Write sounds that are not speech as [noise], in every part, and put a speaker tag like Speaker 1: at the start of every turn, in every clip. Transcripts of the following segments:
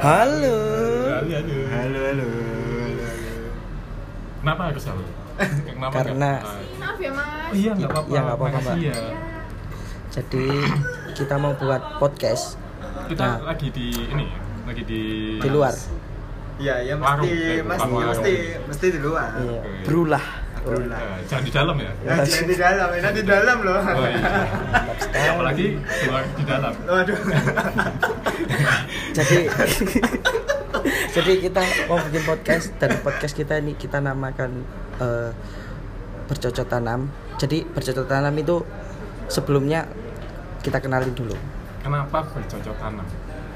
Speaker 1: Halo.
Speaker 2: Aduh, aduh.
Speaker 3: Halo, halo, halo.
Speaker 2: Kenapa harus halo? [laughs] Kenapa
Speaker 1: Karena-
Speaker 2: nggak-
Speaker 4: Maaf ya mas.
Speaker 2: Oh iya nggak apa-apa.
Speaker 1: Iya, nggak apa-apa,
Speaker 2: Makasih
Speaker 1: Mbak.
Speaker 2: ya.
Speaker 1: Jadi kita mau buat podcast
Speaker 2: Kita
Speaker 1: Nah.
Speaker 2: lagi di ini ya, lagi di
Speaker 1: di luar.
Speaker 3: Iya, ya
Speaker 2: Warung,
Speaker 3: mesti,
Speaker 2: eh,
Speaker 3: mesti,
Speaker 2: warung.
Speaker 3: mesti, mesti di luar.
Speaker 1: Iya,
Speaker 2: Oke.
Speaker 1: berulah.
Speaker 3: Berulah.
Speaker 2: Eh, jangan di dalam
Speaker 1: Iya.
Speaker 2: ya.
Speaker 3: Nah, jangan di dalam, enak di dalam loh.
Speaker 2: Oh iya.
Speaker 1: Mantap sekali.
Speaker 2: Apalagi di luar di dalam.
Speaker 3: Waduh.
Speaker 1: Jadi [laughs] Jadi kita mau bikin podcast dan podcast kita ini kita namakan eh, bercocok tanam. Jadi bercocok tanam itu sebelumnya kita kenalin dulu.
Speaker 2: Kenapa bercocok tanam?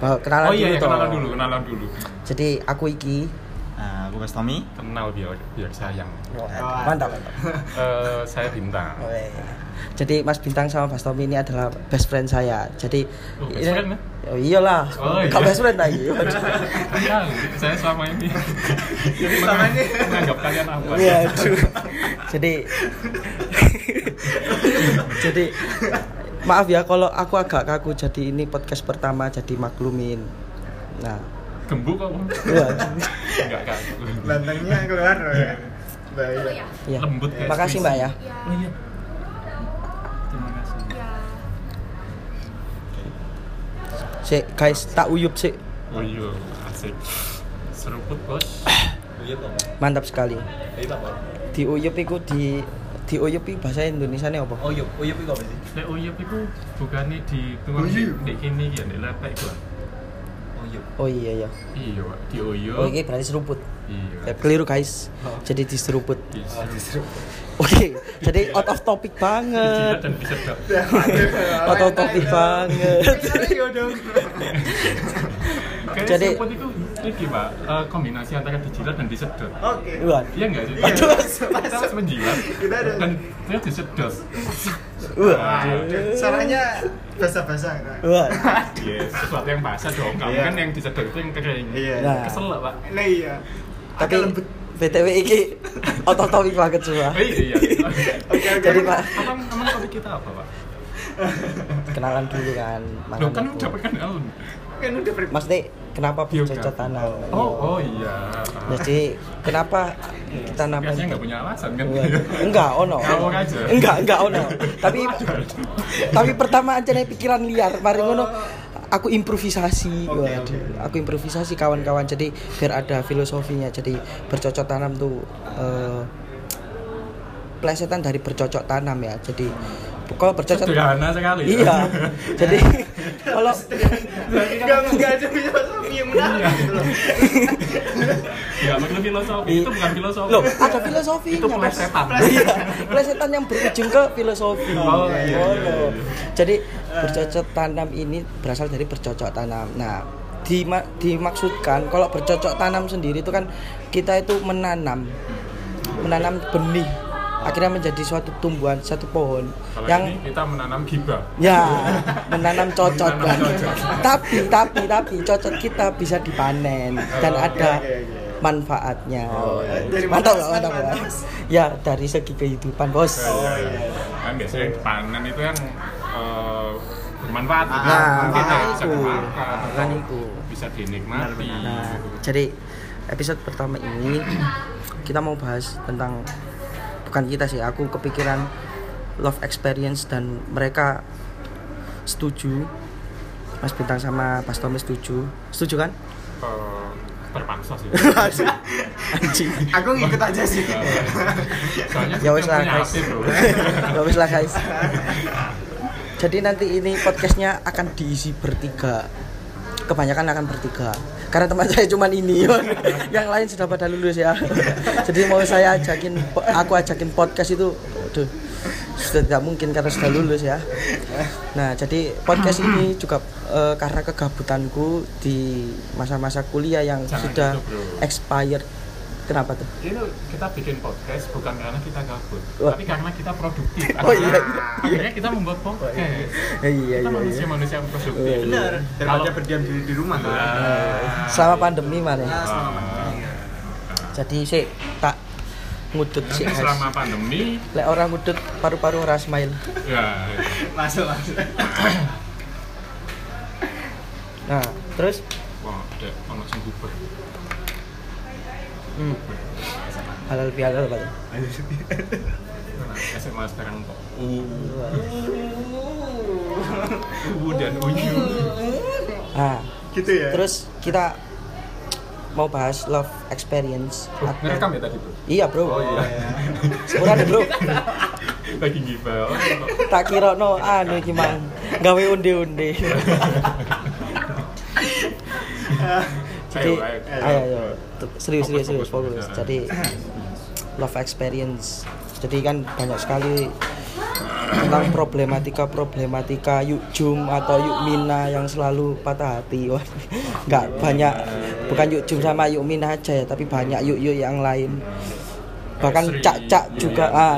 Speaker 1: Bahwa kenalan
Speaker 2: oh iya,
Speaker 1: dulu
Speaker 2: iya
Speaker 1: toh.
Speaker 2: kenalan dulu, kenalan dulu.
Speaker 1: Jadi aku Iki.
Speaker 3: Nah, aku Mas Tommy.
Speaker 2: Kenal biar biar sayang.
Speaker 1: Mantap, mantap.
Speaker 2: Eh, saya bintang.
Speaker 1: Oke. Jadi Mas Bintang sama Mas Tommy ini adalah best friend saya. Jadi
Speaker 2: Oh, best friend, ya?
Speaker 1: Oh, iyalah.
Speaker 2: Oh, iya.
Speaker 1: Kak best friend
Speaker 2: [laughs]
Speaker 1: lagi. Waduh.
Speaker 2: Kenal. Saya selama ini
Speaker 3: Jadi selama ini
Speaker 2: menganggap kalian apa?
Speaker 1: Waduh. Jadi Jadi maaf ya kalau aku agak kaku jadi ini podcast pertama jadi maklumin. Nah,
Speaker 2: Gembuk apa? [laughs]
Speaker 1: waduh.
Speaker 2: Enggak kan.
Speaker 1: Nah,
Speaker 3: lantangnya keluar loh
Speaker 2: Iya.
Speaker 3: ya.
Speaker 2: Oh,
Speaker 4: Dulu
Speaker 3: Bahaya.
Speaker 4: ya.
Speaker 1: Ya.
Speaker 2: Lembut kayak
Speaker 1: Makasih Mbak ya.
Speaker 4: Iya.
Speaker 2: Oh iya. Terima kasih.
Speaker 4: Iya.
Speaker 1: Sik, guys, tak uyup sik.
Speaker 2: Oh iya, asik. Seruput, Bos.
Speaker 1: Mantap sekali. Di uyup iku di di uyup iku bahasa Indonesia ini
Speaker 2: Oh,
Speaker 1: apa?
Speaker 2: iya.
Speaker 5: Uyup, uyup itu apa sih?
Speaker 2: Nek uyup iku bukane di tukang
Speaker 3: Uyup.
Speaker 2: nek kene iki ya nek lepek iku. lah.
Speaker 5: Uyup.
Speaker 1: Oh iya ya.
Speaker 2: Iya, Pak. Di uyup.
Speaker 1: Oh, ini berarti seruput. Ya,
Speaker 2: Iya.
Speaker 1: keliru guys.
Speaker 2: Oh.
Speaker 1: Jadi diseruput. [laughs]
Speaker 2: Di
Speaker 1: Oke, jadi
Speaker 2: Iya.
Speaker 1: out of topic
Speaker 2: jilat
Speaker 1: banget.
Speaker 2: dan disedot.
Speaker 1: Out of topic banget.
Speaker 3: Ayo dong.
Speaker 2: Kayaknya
Speaker 1: Jadi-
Speaker 2: seruput itu iki, Pak. eh, kombinasi antara dijilat dan disedot.
Speaker 3: Oke.
Speaker 1: Waduh.
Speaker 2: Iya enggak sih?
Speaker 3: Iya.
Speaker 2: Kita harus menjilat
Speaker 3: Kita ada-
Speaker 2: dan terus disedot.
Speaker 1: Waduh.
Speaker 3: Caranya basah-basah. kan?
Speaker 2: [laughs]
Speaker 1: Waduh.
Speaker 2: Iya, sesuatu yang basah dong. Kamu
Speaker 3: Iya.
Speaker 2: kan yang disedot itu yang kering.
Speaker 3: Iya.
Speaker 1: Nah.
Speaker 2: Kesel lah, Pak.
Speaker 3: Lah iya.
Speaker 1: Tapi
Speaker 3: Agak lembut.
Speaker 1: BTW iki out of topic banget semua.
Speaker 2: Oh, iya. iya.
Speaker 3: Oke, oke.
Speaker 1: [laughs] Jadi Pak,
Speaker 2: Emang emang topik kita apa, Pak?
Speaker 1: kenalan dulu kan.
Speaker 2: Loh, kan
Speaker 1: aku.
Speaker 2: udah perkenalan.
Speaker 3: kan udah ber
Speaker 1: Mas Nek, kenapa
Speaker 2: Biografi.
Speaker 1: bercocok tanam?
Speaker 2: Oh, oh iya.
Speaker 1: Jadi kenapa kita namain?
Speaker 2: Biasanya nggak punya alasan kan? [laughs]
Speaker 1: Waduh. Iya. Enggak, ono.
Speaker 2: Ngawur aja.
Speaker 1: Enggak, enggak ono.
Speaker 2: [laughs]
Speaker 1: Tapi tapi pertama aja nih pikiran liar. Mari ngono aku improvisasi.
Speaker 3: Oke,
Speaker 1: Waduh.
Speaker 3: oke.
Speaker 1: Aku improvisasi kawan-kawan. Jadi biar ada filosofinya. Jadi bercocok tanam tuh eh, plesetan dari bercocok tanam ya. Jadi kalau bercocok
Speaker 2: Sederhana sekali. ya. [laughs]
Speaker 1: Iya. Jadi kalau
Speaker 3: Enggak enggak ada filosofi yang
Speaker 2: Iya.
Speaker 3: menarik gitu loh.
Speaker 2: Ya, maksudnya filosofi itu bukan filosofi.
Speaker 1: Loh, ada filosofinya.
Speaker 2: itu
Speaker 1: Mas.
Speaker 2: plesetan.
Speaker 1: Iya, plesetan yang berujung ke filosofi.
Speaker 2: Oh, iya, iya, iya,
Speaker 1: Oh,
Speaker 2: iya.
Speaker 1: Jadi bercocok tanam ini berasal dari bercocok tanam. Nah, dima- dimaksudkan kalau bercocok tanam sendiri itu kan kita itu menanam menanam benih akhirnya menjadi suatu tumbuhan satu pohon
Speaker 2: Kalau
Speaker 1: yang
Speaker 2: ini kita menanam gibah.
Speaker 1: ya menanam cocot kan.
Speaker 2: Menanam cocot.
Speaker 1: tapi tapi tapi cocot kita bisa dipanen dan
Speaker 2: Oh,
Speaker 1: ada
Speaker 3: oke, oke, oke.
Speaker 1: manfaatnya.
Speaker 3: iya. Dari
Speaker 1: mantap
Speaker 3: mana,
Speaker 1: lah,
Speaker 3: Mas?
Speaker 1: mantap
Speaker 3: Mana,
Speaker 1: lah.
Speaker 3: Mas?
Speaker 1: Ya dari segi kehidupan bos.
Speaker 3: Oh iya.
Speaker 2: Kan biasanya yang panen itu yang eh, bermanfaat. gitu.
Speaker 1: Nah,
Speaker 2: Mungkin ya
Speaker 1: makanya
Speaker 2: bisa
Speaker 1: itu.
Speaker 2: dimakan,
Speaker 1: Makanya itu.
Speaker 2: bisa dinikmati.
Speaker 1: Nah, jadi episode pertama ini kita mau bahas tentang bukan kita sih, aku kepikiran love experience dan mereka setuju. Mas Bintang sama Mas Tommy setuju. Setuju kan?
Speaker 2: Eh, terpaksa
Speaker 1: [laughs]
Speaker 2: sih.
Speaker 1: Anjing.
Speaker 3: Aku ngikut aja sih.
Speaker 2: Iya. Soalnya
Speaker 1: Ya wes
Speaker 2: kita
Speaker 1: lah
Speaker 2: punya
Speaker 1: guys.
Speaker 2: hati, bro.
Speaker 1: [laughs] Ya wes lah guys. Jadi nanti ini podcastnya akan diisi bertiga. Kebanyakan akan bertiga. Karena teman saya cuman ini.
Speaker 2: [laughs]
Speaker 1: Yang lain sudah pada lulus ya. Jadi mau saya ajakin aku ajakin podcast itu aduh sudah tidak mungkin karena sudah lulus ya. Nah, jadi podcast
Speaker 2: [clears throat]
Speaker 1: ini juga eh, karena kegabutanku di masa-masa kuliah yang
Speaker 2: Jangan
Speaker 1: sudah
Speaker 2: gitu, bro.
Speaker 1: expired. Kenapa tuh?
Speaker 2: Itu kita bikin podcast bukan karena kita gabut,
Speaker 1: Wah.
Speaker 2: tapi karena kita produktif.
Speaker 1: Oh, iya,
Speaker 2: Akhirnya kita membuat podcast.
Speaker 1: Eh, Iya,
Speaker 2: kita
Speaker 1: iya, iya. Nah.
Speaker 2: manusia-manusia yang produktif.
Speaker 3: Benar. Daripada
Speaker 2: Kalau-
Speaker 3: berdiam diri di rumah kan.
Speaker 2: Ah.
Speaker 1: Selama pandemi mana?
Speaker 3: Ah, sama
Speaker 2: Iya.
Speaker 1: jadi sih tak ngudut sih
Speaker 2: Nanti selama pandemi
Speaker 1: lek orang ngudut paru-paru ora smile
Speaker 2: ya
Speaker 3: Masuk masuk.
Speaker 1: nah terus
Speaker 2: wah, dek ono sing guber.
Speaker 1: Hmm. Halal bihalal Pak.
Speaker 2: Nah, SMA sekarang kok. Uh, uh dan
Speaker 1: Oh.
Speaker 2: unyu.
Speaker 1: Ah,
Speaker 3: Gitu ya.
Speaker 1: terus kita mau bahas love experience.
Speaker 2: Bro, ngerekam ya tadi, Bro?
Speaker 1: Iya, Bro.
Speaker 2: Oh iya.
Speaker 1: Ora deh, Bro.
Speaker 2: Lagi
Speaker 1: [laughs]
Speaker 2: gibah. Oh, iya, Pak.
Speaker 1: Tak kira no anu iki mang gawe undi-undi. Jadi
Speaker 2: Ayo, ayo.
Speaker 1: ayo ayo. T- Serius serius serius
Speaker 2: Fokus,
Speaker 1: fokus.
Speaker 2: fokus, fokus.
Speaker 1: Jadi love experience. Jadi kan banyak sekali tentang problematika-problematika yuk jum atau yuk mina yang selalu patah hati Wah, [laughs] nggak banyak bukan yuk jum sama yuk mina aja ya tapi banyak yuk yuk yang lain bahkan
Speaker 2: Sri,
Speaker 1: cak cak
Speaker 2: Yuyun.
Speaker 1: juga ah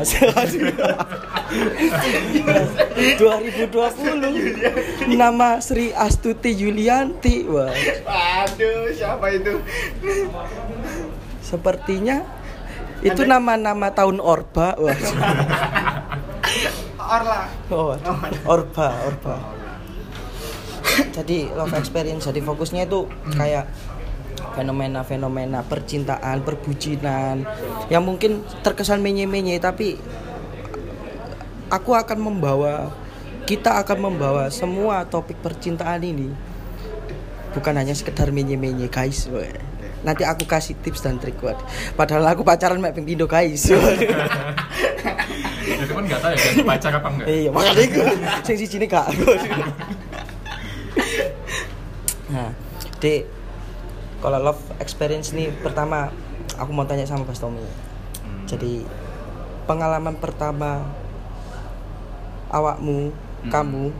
Speaker 1: [laughs] 2020 nama Sri Astuti Yulianti wah
Speaker 3: Aduh, siapa itu?
Speaker 1: sepertinya itu nama-nama tahun Orba wah
Speaker 3: Orla.
Speaker 1: Oh, orba, orba. jadi love experience jadi fokusnya itu kayak fenomena-fenomena percintaan, perbucinan yang mungkin terkesan menye-menye tapi aku akan membawa kita akan membawa semua topik percintaan ini bukan hanya sekedar menye-menye guys Weh. nanti aku kasih tips dan trik buat padahal aku pacaran mek ping pindo guys
Speaker 2: Jadi kan nggak tahu ya, ganti pacar apa enggak?
Speaker 1: Iya, makanya itu sing siji ini gak. nah, Dek. Kalau love experience nih pertama aku mau tanya sama Mas Tommy. Jadi pengalaman pertama awakmu, kamu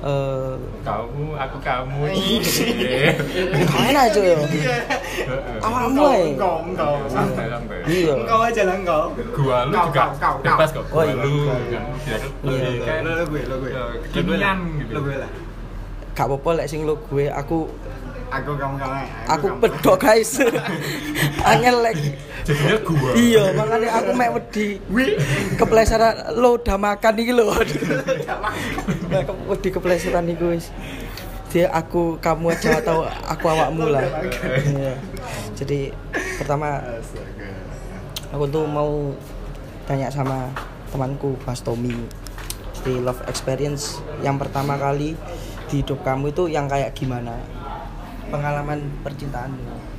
Speaker 1: eh
Speaker 2: Kamu, aku kamu.
Speaker 1: Iya.
Speaker 2: Iya.
Speaker 1: main eh, aja yo. Awakmu
Speaker 3: Engkau,
Speaker 1: ae.
Speaker 3: engkau, engkau.
Speaker 2: Santai, santai.
Speaker 1: Iya.
Speaker 3: Engkau aja lah engkau.
Speaker 2: Gua lu
Speaker 3: Kau,
Speaker 2: juga
Speaker 3: kau, kau, kau.
Speaker 2: bebas kok.
Speaker 1: Oh,
Speaker 2: Gua
Speaker 1: iya.
Speaker 2: lu kan biar lebih
Speaker 3: Iya,
Speaker 2: kayak
Speaker 3: lo- lo gue, lo gue. Lo gue
Speaker 2: eh,
Speaker 3: lah.
Speaker 2: kekinian gitu.
Speaker 3: Lo gue lah.
Speaker 1: Gak apa-apa lek sing lo gue aku
Speaker 3: Aku kamu kamu. aja,
Speaker 1: aku
Speaker 3: kamu.
Speaker 1: pedok guys. Angel lek.
Speaker 2: Jadinya gua.
Speaker 1: Iya, makanya aku mek wedi.
Speaker 3: Wih.
Speaker 1: kepleseran lo udah makan iki lo Nah, ke- wedi kepleseran nih guys dia aku kamu aja atau aku awakmu lah Iya. jadi pertama
Speaker 3: Astaga.
Speaker 1: aku tuh mau tanya sama temanku Mas Tommy di love experience yang pertama kali di hidup kamu itu yang kayak gimana pengalaman percintaanmu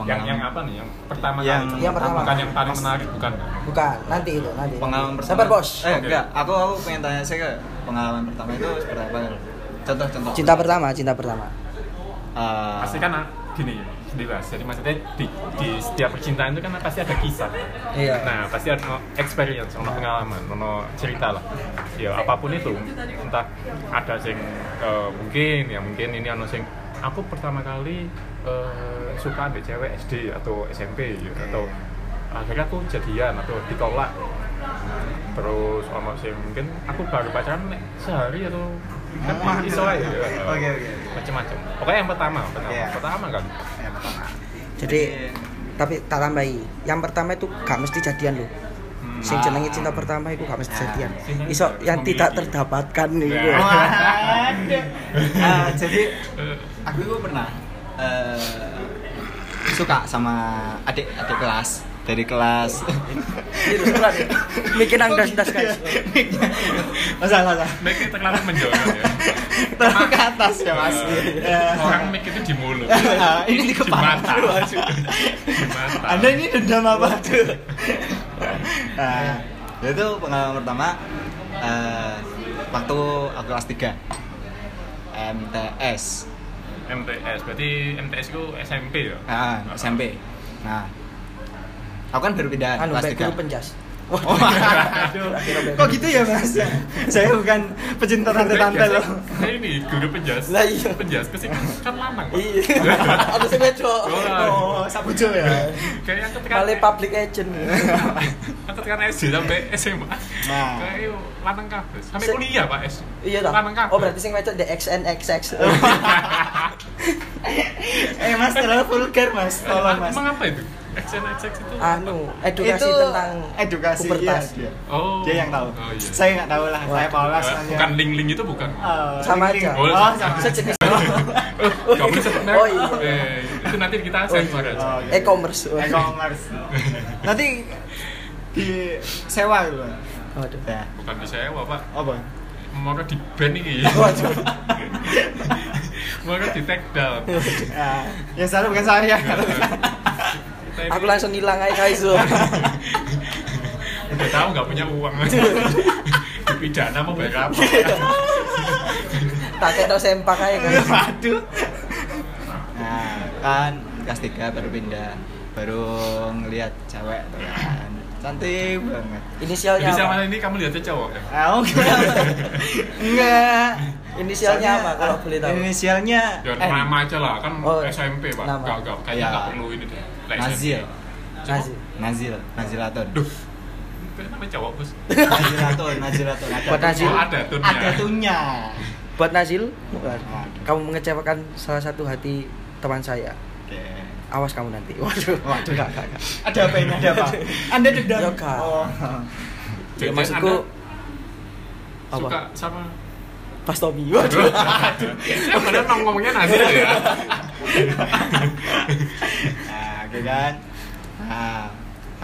Speaker 2: Yang yang
Speaker 5: Pengalaman,
Speaker 2: apa nih? Yang pertama
Speaker 5: Yang-
Speaker 2: kali.
Speaker 1: yang pertama.
Speaker 2: Bukan yang paling menarik, bukan.
Speaker 1: bukan nanti itu nanti
Speaker 5: pengalaman pertama.
Speaker 1: sabar bos
Speaker 5: Eh,
Speaker 2: Oke.
Speaker 5: enggak, aku aku pengen tanya saya ke pengalaman pertama itu seperti apa? Contoh-contoh.
Speaker 1: cinta pertama cinta pertama
Speaker 5: Ah,
Speaker 2: Pasti kan ah, gini gini Mas. Jadi maksudnya di, di setiap percintaan itu kan pasti ada kisah.
Speaker 1: Iya.
Speaker 2: Nah, pasti ada no experience, ono pengalaman, ono cerita lah. Ya apapun itu, entah ada sing eh, mungkin ya mungkin ini ono sing aku pertama kali eh, suka ambil cewek SD atau SMP ya, atau akhirnya aku jadian atau ditolak terus ono sing mungkin aku baru pacaran nek sehari atau
Speaker 5: Ah.
Speaker 2: Kan iso aja ya.
Speaker 5: Oke, oke.
Speaker 2: macam-macam pokoknya yang pertama pertama,
Speaker 5: Iya.
Speaker 2: pertama kan
Speaker 3: Ya,
Speaker 5: yang pertama.
Speaker 1: jadi tapi tak tambahi yang pertama itu gak mesti jadian loh sing jenenge cinta pertama itu gak mesti jadian iso yang tidak terdapatkan nih [laughs]
Speaker 2: Ya.
Speaker 1: gitu.
Speaker 5: Iya. Waduh. Ah, jadi aku itu pernah eh, suka sama adik adik kelas dari kelas
Speaker 1: Gitu, sebelah nih. mikir nang das-das
Speaker 5: [laughs]
Speaker 1: guys
Speaker 5: masalah masalah
Speaker 2: Mic itu terlalu menjauh ya.
Speaker 5: terlalu ke atas ya mas
Speaker 2: Eh, Orang mic itu di mulut.
Speaker 5: Ah, [laughs] ini di kepala
Speaker 2: mata.
Speaker 5: Waduh.
Speaker 2: Di mata.
Speaker 5: anda ini dendam apa tuh nah, itu pengalaman pertama eh, waktu aku kelas 3 MTS
Speaker 2: MTS. Berarti MTS itu SMP ya?
Speaker 5: ah, SMP nah aku kan baru pindah
Speaker 1: anu
Speaker 5: kelas
Speaker 1: baik guru
Speaker 5: 3
Speaker 1: penjas
Speaker 5: Oh, aduh. [laughs] Kok gitu ya, Mas? Saya bukan pecinta tante-tante loh.
Speaker 2: Saya ini guru penjas.
Speaker 1: Lah, iya.
Speaker 2: Penjas kesini kan lanang. Pak.
Speaker 1: iya ada sing wedok
Speaker 5: Oh, sabujo ya.
Speaker 2: Kayaknya ketika
Speaker 1: Male public agent
Speaker 2: ketika SD sampai SMA.
Speaker 5: Nah.
Speaker 2: Kayaknya lanang kabeh. Sampai
Speaker 1: Se-
Speaker 2: kuliah, Pak S.
Speaker 1: iya toh
Speaker 2: Lanang kabeh.
Speaker 1: oh berarti sing wedok the XNXX
Speaker 5: eh, Mas, terlalu vulgar, Mas.
Speaker 2: Eh,
Speaker 5: Tolong, Mas.
Speaker 2: Emang apa itu? action action itu
Speaker 1: anu edukasi
Speaker 5: itu
Speaker 1: tentang
Speaker 5: edukasi
Speaker 1: pubertas.
Speaker 5: iya, dia.
Speaker 2: Oh.
Speaker 5: dia yang tahu
Speaker 2: Oh, iya.
Speaker 5: saya nggak tahu lah saya
Speaker 1: Wah.
Speaker 2: Eh,
Speaker 5: Paulus hanya-
Speaker 2: bukan link link itu bukan
Speaker 5: Eh,
Speaker 1: Sama
Speaker 5: link-link.
Speaker 1: aja.
Speaker 5: oh,
Speaker 2: Oh,
Speaker 5: sama aja.
Speaker 1: Sejenis.
Speaker 2: Eh, kamu sebenarnya
Speaker 1: Oh, iya.
Speaker 2: eh, itu nanti kita sensor aja
Speaker 5: Oh, iya.
Speaker 1: E-commerce.
Speaker 5: e-commerce
Speaker 2: [laughs]
Speaker 5: nanti di sewa gitu
Speaker 1: Waduh.
Speaker 5: ya
Speaker 2: bukan di sewa pak
Speaker 5: apa
Speaker 2: mau di ban
Speaker 1: [laughs]
Speaker 2: ini
Speaker 1: Waduh.
Speaker 2: mau di take
Speaker 1: [laughs]
Speaker 2: down
Speaker 1: Iya.
Speaker 5: Ya, ya saya bukan saya
Speaker 2: Kita ini
Speaker 1: Aku langsung hilang aja Kaizo.
Speaker 2: udah tahu nggak punya
Speaker 1: [laughs]
Speaker 2: uang dipidana mau bayar apa
Speaker 1: Iya, Tak ketok sempak aja kan.
Speaker 5: Waduh. Nah, kan kelas 3 baru pindah, baru ngelihat cewek tuh kan. Cantik banget.
Speaker 1: Inisialnya
Speaker 2: jadi
Speaker 1: apa?
Speaker 2: sama ini kamu lihatnya cowok ya
Speaker 5: Ah, oh, kenapa? Enggak.
Speaker 1: Inisialnya
Speaker 5: Soalnya,
Speaker 1: apa kalau boleh tahu?
Speaker 5: Inisialnya
Speaker 2: Ya,
Speaker 5: N.
Speaker 2: nama aja lah, kan
Speaker 1: Eh. Oh,
Speaker 2: SMP pak
Speaker 1: nama.
Speaker 2: Nggak, nggak, kayaknya
Speaker 5: Ya.
Speaker 2: nggak perlu ini deh Lah,
Speaker 5: Nazil.
Speaker 2: SMP.
Speaker 1: Kasih.
Speaker 5: Nazil, Nazilaton.
Speaker 2: Duh, itu namanya cowok bos
Speaker 5: Nazilaton, Nazilaton. Ada
Speaker 1: Buat Nazil.
Speaker 2: Oh, ada tunnya
Speaker 5: ada tunnya.
Speaker 1: Buat Nazil, bukan.
Speaker 5: Nah,
Speaker 1: Kamu mengecewakan salah satu hati teman saya.
Speaker 5: Oke.
Speaker 1: Awas kamu nanti. Waduh.
Speaker 5: Waduh.
Speaker 1: Enggak, enggak, enggak.
Speaker 5: Ada apa ini? Ada
Speaker 1: [laughs]
Speaker 5: apa? Anda dendam.
Speaker 1: Ya, Kak.
Speaker 5: Oh.
Speaker 1: Ya,
Speaker 2: Jajan
Speaker 1: maksudku
Speaker 2: Anda
Speaker 1: apa?
Speaker 2: suka sama
Speaker 1: Pas Tommy. Waduh.
Speaker 2: saya [laughs] bener ngomongnya Nazil ya
Speaker 5: Nah, oke kan. Nah,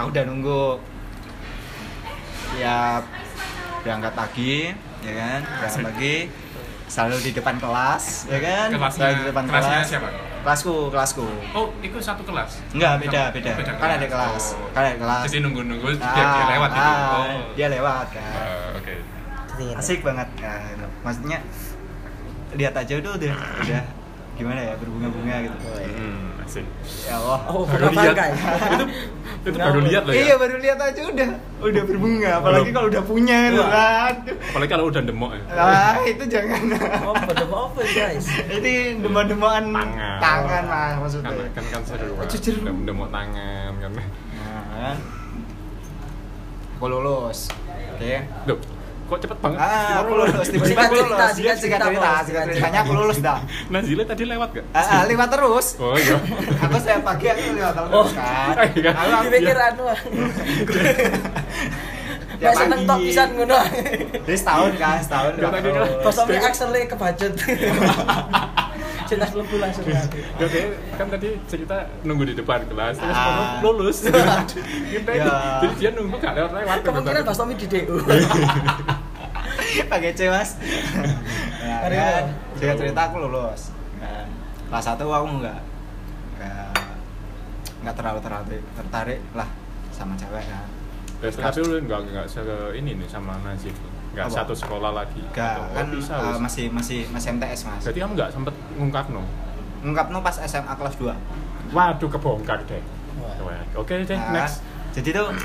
Speaker 5: aku udah nunggu tiap berangkat pagi, ya kan? Berangkat pagi selalu di depan kelas, ya kan?
Speaker 2: Kelasnya-
Speaker 5: selalu di depan
Speaker 2: kelasnya
Speaker 5: kelas.
Speaker 2: siapa?
Speaker 5: Kelasku, kelasku.
Speaker 2: oh itu satu kelas
Speaker 5: Enggak, beda, beda. Kan ada kelas.
Speaker 2: Oh.
Speaker 5: Kan ada kelas.
Speaker 2: jadi nunggu nunggu dia, dia lewat
Speaker 5: ah,
Speaker 2: itu
Speaker 5: ah,
Speaker 2: oh.
Speaker 5: Dia lewat kan.
Speaker 2: Eh, oke
Speaker 5: Asik banget kan. Maksudnya lihat aja udah udah udah gimana ya berbunga-bunga gitu.
Speaker 2: hmm, asik
Speaker 5: Ya Allah.
Speaker 1: Oh,
Speaker 2: Baru
Speaker 1: bukan
Speaker 2: lihat.
Speaker 1: bangkai.
Speaker 2: itu itu baru lihat loh
Speaker 5: Iya
Speaker 2: ya
Speaker 5: baru lihat aja udah udah berbunga apalagi
Speaker 2: Belum. Iya.
Speaker 5: kalau udah punya gitu
Speaker 1: Wah.
Speaker 5: kan.
Speaker 2: apalagi kalau udah demok ya
Speaker 5: Ah itu jangan.
Speaker 1: Oh, pada open guys.
Speaker 5: [laughs] Ini demam-demaman
Speaker 2: Tangan.
Speaker 5: tangan mah maksudnya.
Speaker 2: kan kan kan seru pak
Speaker 5: Jujur.
Speaker 2: udah udah mau tangan kan
Speaker 5: Nah, kan. Aku lulus. Oke.
Speaker 2: Duh, kok cepet banget
Speaker 5: Ah, aku lulus. Tiba-tiba
Speaker 2: [laughs]
Speaker 1: Singkat
Speaker 5: aku
Speaker 1: cerita,
Speaker 5: lulus. Iya,
Speaker 1: singkat
Speaker 5: singkat
Speaker 1: cerita,
Speaker 5: cerita.
Speaker 1: Bos.
Speaker 5: Singkat
Speaker 1: Singkat
Speaker 5: ceritanya aku lulus dah.
Speaker 2: Nazila tadi lewat gak?
Speaker 5: Ah, ah, lewat terus.
Speaker 2: oh iya
Speaker 5: Aku
Speaker 2: [laughs]
Speaker 5: saya pagi aku lewat terus kan.
Speaker 2: Oh, iya.
Speaker 5: Aku
Speaker 1: Dipikir
Speaker 5: [laughs]
Speaker 1: anu.
Speaker 5: tiap
Speaker 1: Gak seneng
Speaker 5: Ya, pagi.
Speaker 1: tok pisan ngono.
Speaker 5: Jadi setahun kan, setahun.
Speaker 2: Gak
Speaker 5: lewat
Speaker 2: tadi kan.
Speaker 5: terus.
Speaker 1: Pas Tommy aksele kebajet. Cintas belum pulang sebenarnya.
Speaker 2: Gak kayak kan tadi cerita nunggu di depan kelas terus
Speaker 5: Ah.
Speaker 2: lulus.
Speaker 5: [laughs]
Speaker 2: Kita
Speaker 5: Ya.
Speaker 2: jadi dia nunggu gak lewat lewat.
Speaker 1: Kemungkinan Mas Tommy di DU.
Speaker 5: [laughs] pakai C
Speaker 2: [laughs]
Speaker 5: mas nah,
Speaker 1: Aduh.
Speaker 5: kan cerita cerita aku lulus Nah, kelas satu aku nggak nggak nggak terlalu tertarik tertarik lah sama cewek kan
Speaker 2: Terus tapi lu nggak nggak se ini nih sama Najib. Nggak
Speaker 5: Apa?
Speaker 2: satu sekolah lagi.
Speaker 5: nggak
Speaker 2: Atau-
Speaker 5: kan
Speaker 2: oh, bisa.
Speaker 5: eh,
Speaker 2: bisa.
Speaker 5: masih masih masih MTS mas
Speaker 2: Jadi kamu nggak sempet ngungkap no?
Speaker 5: ngungkap no pas SMA kelas 2
Speaker 2: Waduh kebongkar deh. Wah, Oke deh
Speaker 5: Nah,
Speaker 2: next.
Speaker 5: jadi
Speaker 2: [coughs]
Speaker 5: tuh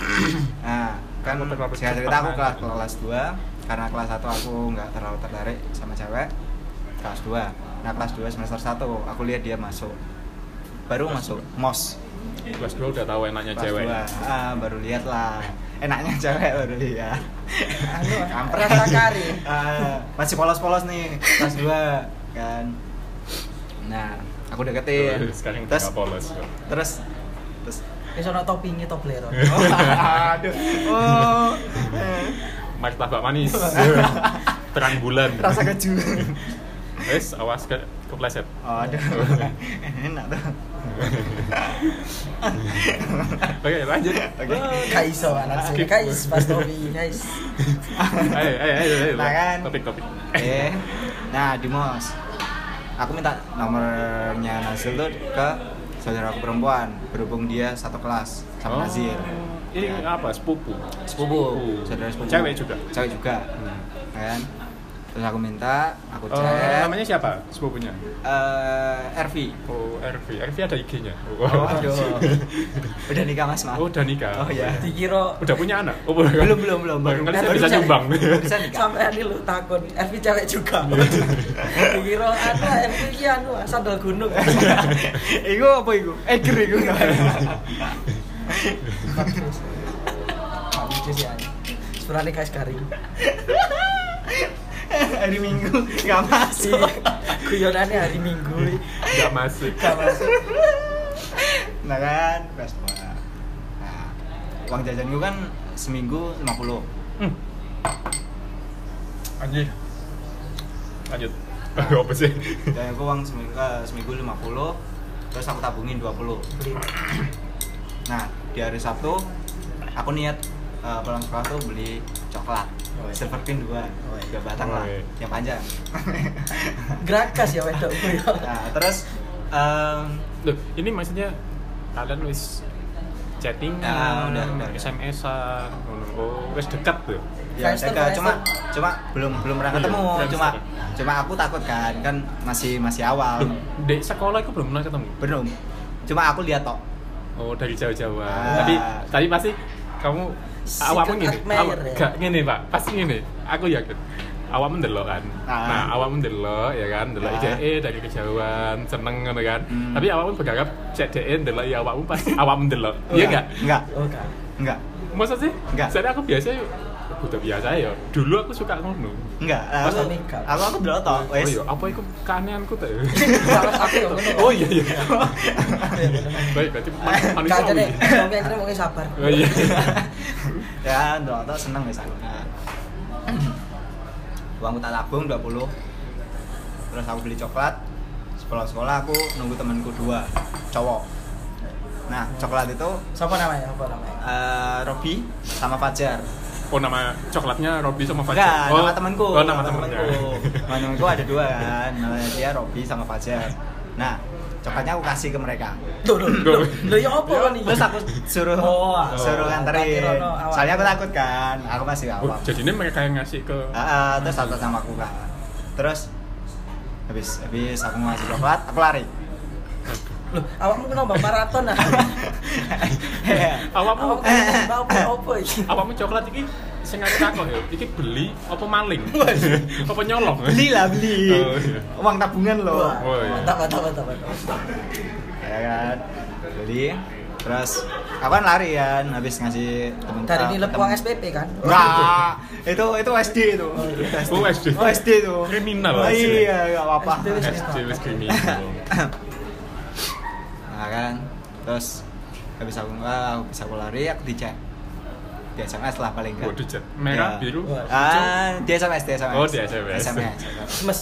Speaker 5: nah kan
Speaker 2: Aku terlalu
Speaker 5: cerita cerita
Speaker 2: cepat,
Speaker 5: aku
Speaker 2: Mas.
Speaker 5: kelas kelas dua karena kelas satu aku nggak terlalu tertarik sama cewek kelas 2 nah kelas 2 semester 1 aku lihat dia masuk baru masuk mos
Speaker 2: Kelas dua udah tahu enaknya
Speaker 5: Kelas
Speaker 2: cewek.
Speaker 5: dua. Ah, baru lihat lah. Enaknya cewek baru lihat.
Speaker 1: Anu,
Speaker 5: Kampret.
Speaker 1: rasa kari.
Speaker 5: [laughs] Ah, masih polos-polos nih kelas 2 kan. Nah, aku deketin.
Speaker 2: Sekarang
Speaker 5: terus,
Speaker 2: nggak polos. kok.
Speaker 5: terus terus
Speaker 1: Wis ana toppinge toblero.
Speaker 5: aduh. Oh. eh,
Speaker 2: Martabak
Speaker 5: [laughs]
Speaker 2: manis. Terang bulan.
Speaker 5: Rasa keju.
Speaker 2: Wes awas ke kepleset.
Speaker 5: Oh, aduh. [laughs] Enak tuh.
Speaker 2: Oke lanjut.
Speaker 5: Oke.
Speaker 1: Gak iso anak sini.
Speaker 2: Skip.
Speaker 1: Guys, Mas Tommy, guys.
Speaker 2: ayo ayo ayo, ayo
Speaker 5: Nah, kan.
Speaker 2: topik topik
Speaker 5: Oke. Nah, di mos. Aku minta nomornya Nazil tuh ke saudara aku perempuan berhubung dia satu kelas sama Nazil.
Speaker 2: Oh. ini
Speaker 5: Ya.
Speaker 2: apa sepupu
Speaker 5: Sepupu, saudara sepupu.
Speaker 2: cewek juga Hmm.
Speaker 5: Cewek juga. Kan? Terus aku minta, aku
Speaker 2: Eh,
Speaker 5: chat.
Speaker 2: namanya siapa sepupunya
Speaker 5: Eh, RV.
Speaker 2: oh RV RV ada IG-nya
Speaker 5: Oh,
Speaker 2: [laughs]
Speaker 5: aduh. Udah nikah Mas, Mas.
Speaker 2: oh udah nikah
Speaker 5: Oh, iya.
Speaker 1: Dikira
Speaker 2: udah punya anak oh belum
Speaker 5: Belum, belum, belum.
Speaker 2: baru kali
Speaker 5: Nah,
Speaker 2: saya
Speaker 5: baru
Speaker 2: bisa
Speaker 5: cewek.
Speaker 2: nyumbang
Speaker 5: Bisa nikah.
Speaker 1: sampai ini lu takut Elvi cewek juga
Speaker 2: Iya.
Speaker 1: dikira anu Elvi iki anu sandal gunung
Speaker 5: [laughs] Iku apa iku? Eger iku. [laughs]
Speaker 1: Gak lucu sih anu sebenarnya guys garing
Speaker 5: Hari Minggu enggak
Speaker 1: si
Speaker 5: masuk.
Speaker 2: Iya.
Speaker 1: guyonannya hari minggu
Speaker 2: [laughs] nggak masuk
Speaker 1: gak masuk
Speaker 5: Nah kan, pas puasa. uang jajan gue kan seminggu 50
Speaker 2: Hmm. Anjir. Lanjut. [laughs] Apa sih?
Speaker 5: dan aku uang seminggu, eh, seminggu 50 terus aku tabungin 20 nah di hari Sabtu aku niat eh, pulang sekolah tuh beli coklat
Speaker 1: Oi.
Speaker 5: silver pin dua
Speaker 1: Oi.
Speaker 5: dua batang lah
Speaker 2: Oi.
Speaker 5: yang panjang [laughs]
Speaker 1: Grakas ya wedok gue.
Speaker 5: nah terus em,
Speaker 2: Loh, ini maksudnya kalian wis chatting
Speaker 5: Ah, udah, udah.
Speaker 2: SMS-an ngono. Oh, wis dekat tuh.
Speaker 5: ya
Speaker 1: Friendster,
Speaker 5: mereka cuma
Speaker 1: Friendster.
Speaker 5: cuma belum belum pernah
Speaker 2: Iya,
Speaker 5: ketemu
Speaker 2: Friendster.
Speaker 5: cuma cuma aku takut kan kan masih masih awal
Speaker 2: Loh, di sekolah itu belum pernah ketemu.
Speaker 5: belum cuma aku lihat tok
Speaker 2: Oh, dari jauh-jauh.
Speaker 5: Ah.
Speaker 2: Tapi tadi pasti kamu
Speaker 1: Secret
Speaker 2: awakmu ngene.
Speaker 1: admirer
Speaker 2: Awak
Speaker 1: ya?
Speaker 2: gak ngene, Pak. Pasti ngene. Aku yakin. Awakmu ndelok kan.
Speaker 5: Ah.
Speaker 2: Nah, awakmu ndelok ya kan, ndelok
Speaker 5: Ah.
Speaker 2: ide dari kejauhan, seneng ngono kan.
Speaker 5: Hmm.
Speaker 2: Tapi awakmu berharap cek DE ndelok ya awakmu pasti [laughs] awakmu ndelok. Iya enggak?
Speaker 5: enggak
Speaker 1: Oke.
Speaker 5: enggak
Speaker 2: Masa sih?
Speaker 5: Enggak.
Speaker 2: Soalnya aku biasa udah biasa ya. Dulu aku suka ngono.
Speaker 5: enggak
Speaker 1: Pas
Speaker 5: Nah, aku
Speaker 1: nikah.
Speaker 5: aku aku belum tok
Speaker 2: Oh
Speaker 5: wes
Speaker 2: iya, apa itu keanehanku tuh?
Speaker 5: [laughs]
Speaker 1: Kalau aku yang ngono.
Speaker 2: Oh iya iya. Baik, berarti
Speaker 5: [laughs]
Speaker 2: man-
Speaker 1: Kaca
Speaker 2: manusiawi.
Speaker 1: deh, tapi akhirnya mungkin sabar.
Speaker 2: iya. Oh iya.
Speaker 5: ya ndelok tok seneng wis aku Nah,
Speaker 2: Hmm.
Speaker 5: uangku tak tabung 20 terus aku beli coklat sekolah sekolah aku nunggu temanku dua cowok nah coklat itu
Speaker 1: Siapa namanya? Siapa namanya?
Speaker 5: eh, Robi sama Fajar
Speaker 2: Oh nama coklatnya Robby sama Fajar.
Speaker 5: enggak
Speaker 2: oh,
Speaker 5: nama temanku
Speaker 2: Oh nama temannya.
Speaker 5: Nama temanku ada dua kan namanya dia Robi sama Fajar nah coklatnya aku kasih ke mereka
Speaker 1: Duh, duh,
Speaker 2: Duh.
Speaker 1: duh. Loh, ya apa
Speaker 2: Iya.
Speaker 1: kan ini?
Speaker 5: terus aku suruh
Speaker 1: Oh,
Speaker 5: suruh
Speaker 1: oh.
Speaker 5: nganterin
Speaker 1: Kira-kira no, awak.
Speaker 5: soalnya aku takut kan aku masih
Speaker 2: [laughs] Oh,
Speaker 5: awam
Speaker 2: jadi ini mereka yang ngasih ke
Speaker 5: Ah, ah, terus satu sama aku kan terus habis habis aku ngasih coklat aku
Speaker 2: [laughs]
Speaker 5: lari
Speaker 1: Loh, awakmu kenapa maraton ah?
Speaker 2: awakmu.
Speaker 1: Awakmu kenapa apa-apa iki?
Speaker 2: Awakmu eh, coklat iki sengaja takok ya. Iki beli apa maling? [laughs] apa nyolong?
Speaker 5: beli lah beli
Speaker 2: [laughs] Oh, iya.
Speaker 5: uang tabungan loh
Speaker 1: Wah,
Speaker 2: Oh, iya.
Speaker 1: Mantap, mantap, mantap. mantap.
Speaker 5: ya kan beli terus aku kan lari kan habis ngasih temen
Speaker 1: Dari
Speaker 5: ah,
Speaker 1: nilai
Speaker 5: temen-
Speaker 1: uang SPP kan?
Speaker 5: Enggak, itu itu SD itu. SD.
Speaker 2: Oh, SD.
Speaker 5: Oh, SD itu.
Speaker 2: Kriminal,
Speaker 5: Oh,
Speaker 2: SD.
Speaker 5: iya, enggak apa-apa.
Speaker 1: SD wis
Speaker 2: SD wis kriminal.
Speaker 5: Nah, kan. Terus habis aku ah, habis aku lari aku dicek. Di SMS lah paling enggak.
Speaker 2: Waduh, cek. merah,
Speaker 5: Ya.
Speaker 2: biru.
Speaker 1: Wah.
Speaker 5: Ah, di SMS, di SMS.
Speaker 2: Oh, di SMS.
Speaker 5: SMS.
Speaker 1: Semes.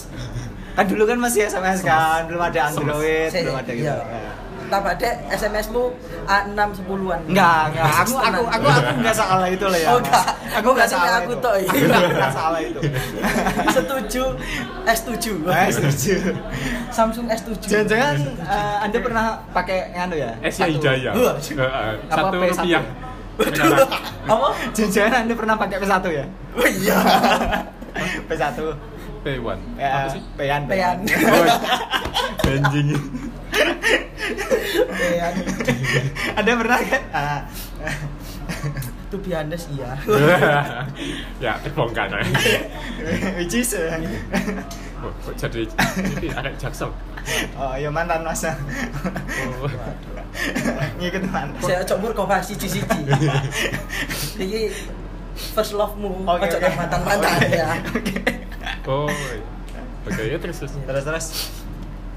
Speaker 5: Kan dulu kan masih SMS kan, belum ada
Speaker 2: Semes.
Speaker 5: Android,
Speaker 1: Saya-
Speaker 5: belum ada gitu.
Speaker 1: iya. Tambah deh SMS-mu A6 10-an.
Speaker 5: Enggak, enggak. Aku aku aku aku enggak salah itu lah ya.
Speaker 1: Oh,
Speaker 5: Mas.
Speaker 1: enggak.
Speaker 5: Aku
Speaker 1: Oh,
Speaker 5: enggak
Speaker 1: berarti
Speaker 5: salah.
Speaker 1: aku
Speaker 5: itu.
Speaker 1: tok, iya.
Speaker 5: Enggak, enggak salah itu.
Speaker 1: Setuju S7.
Speaker 5: Eh, setuju.
Speaker 1: Samsung S7.
Speaker 5: Jangan-jangan eh, Anda pernah pakai nganu ya?
Speaker 2: Asia
Speaker 5: Satu.
Speaker 2: Eh, Hidayah.
Speaker 1: Wah.
Speaker 2: Heeh,
Speaker 5: Apa
Speaker 2: Satu
Speaker 5: P1
Speaker 2: rupiah.
Speaker 5: ya?
Speaker 2: Sekarang.
Speaker 1: Apa?
Speaker 5: Jangan-jangan Anda pernah pakai P1 ya?
Speaker 1: Oh iya.
Speaker 5: [laughs] P1.
Speaker 2: P1.
Speaker 5: Ya,
Speaker 2: Apa sih?
Speaker 5: P-an,
Speaker 1: Pean.
Speaker 2: Oh, anjing.
Speaker 5: Eh,
Speaker 1: Pean.
Speaker 5: Anda pernah kan? Ah.
Speaker 1: To be honest, iya.
Speaker 2: [laughs]
Speaker 5: Eh.
Speaker 2: ya, terbongkar. ya.
Speaker 5: Which is eh, [laughs]
Speaker 2: Oh, kok jadi ini ada jaksel.
Speaker 5: Oh, ya mantan masa.
Speaker 2: Oh.
Speaker 5: [laughs] Ngikut mantan.
Speaker 1: Saya cok murkoba
Speaker 5: [laughs]
Speaker 1: siji-siji.
Speaker 5: Iya.
Speaker 1: Iki first love-mu.
Speaker 5: Oke,
Speaker 1: Ojo
Speaker 5: oke.
Speaker 1: nang mantan-mantan
Speaker 5: Oke,
Speaker 1: ya.
Speaker 5: oke.
Speaker 2: Oh. Oke, ya terus terus.
Speaker 5: terus terus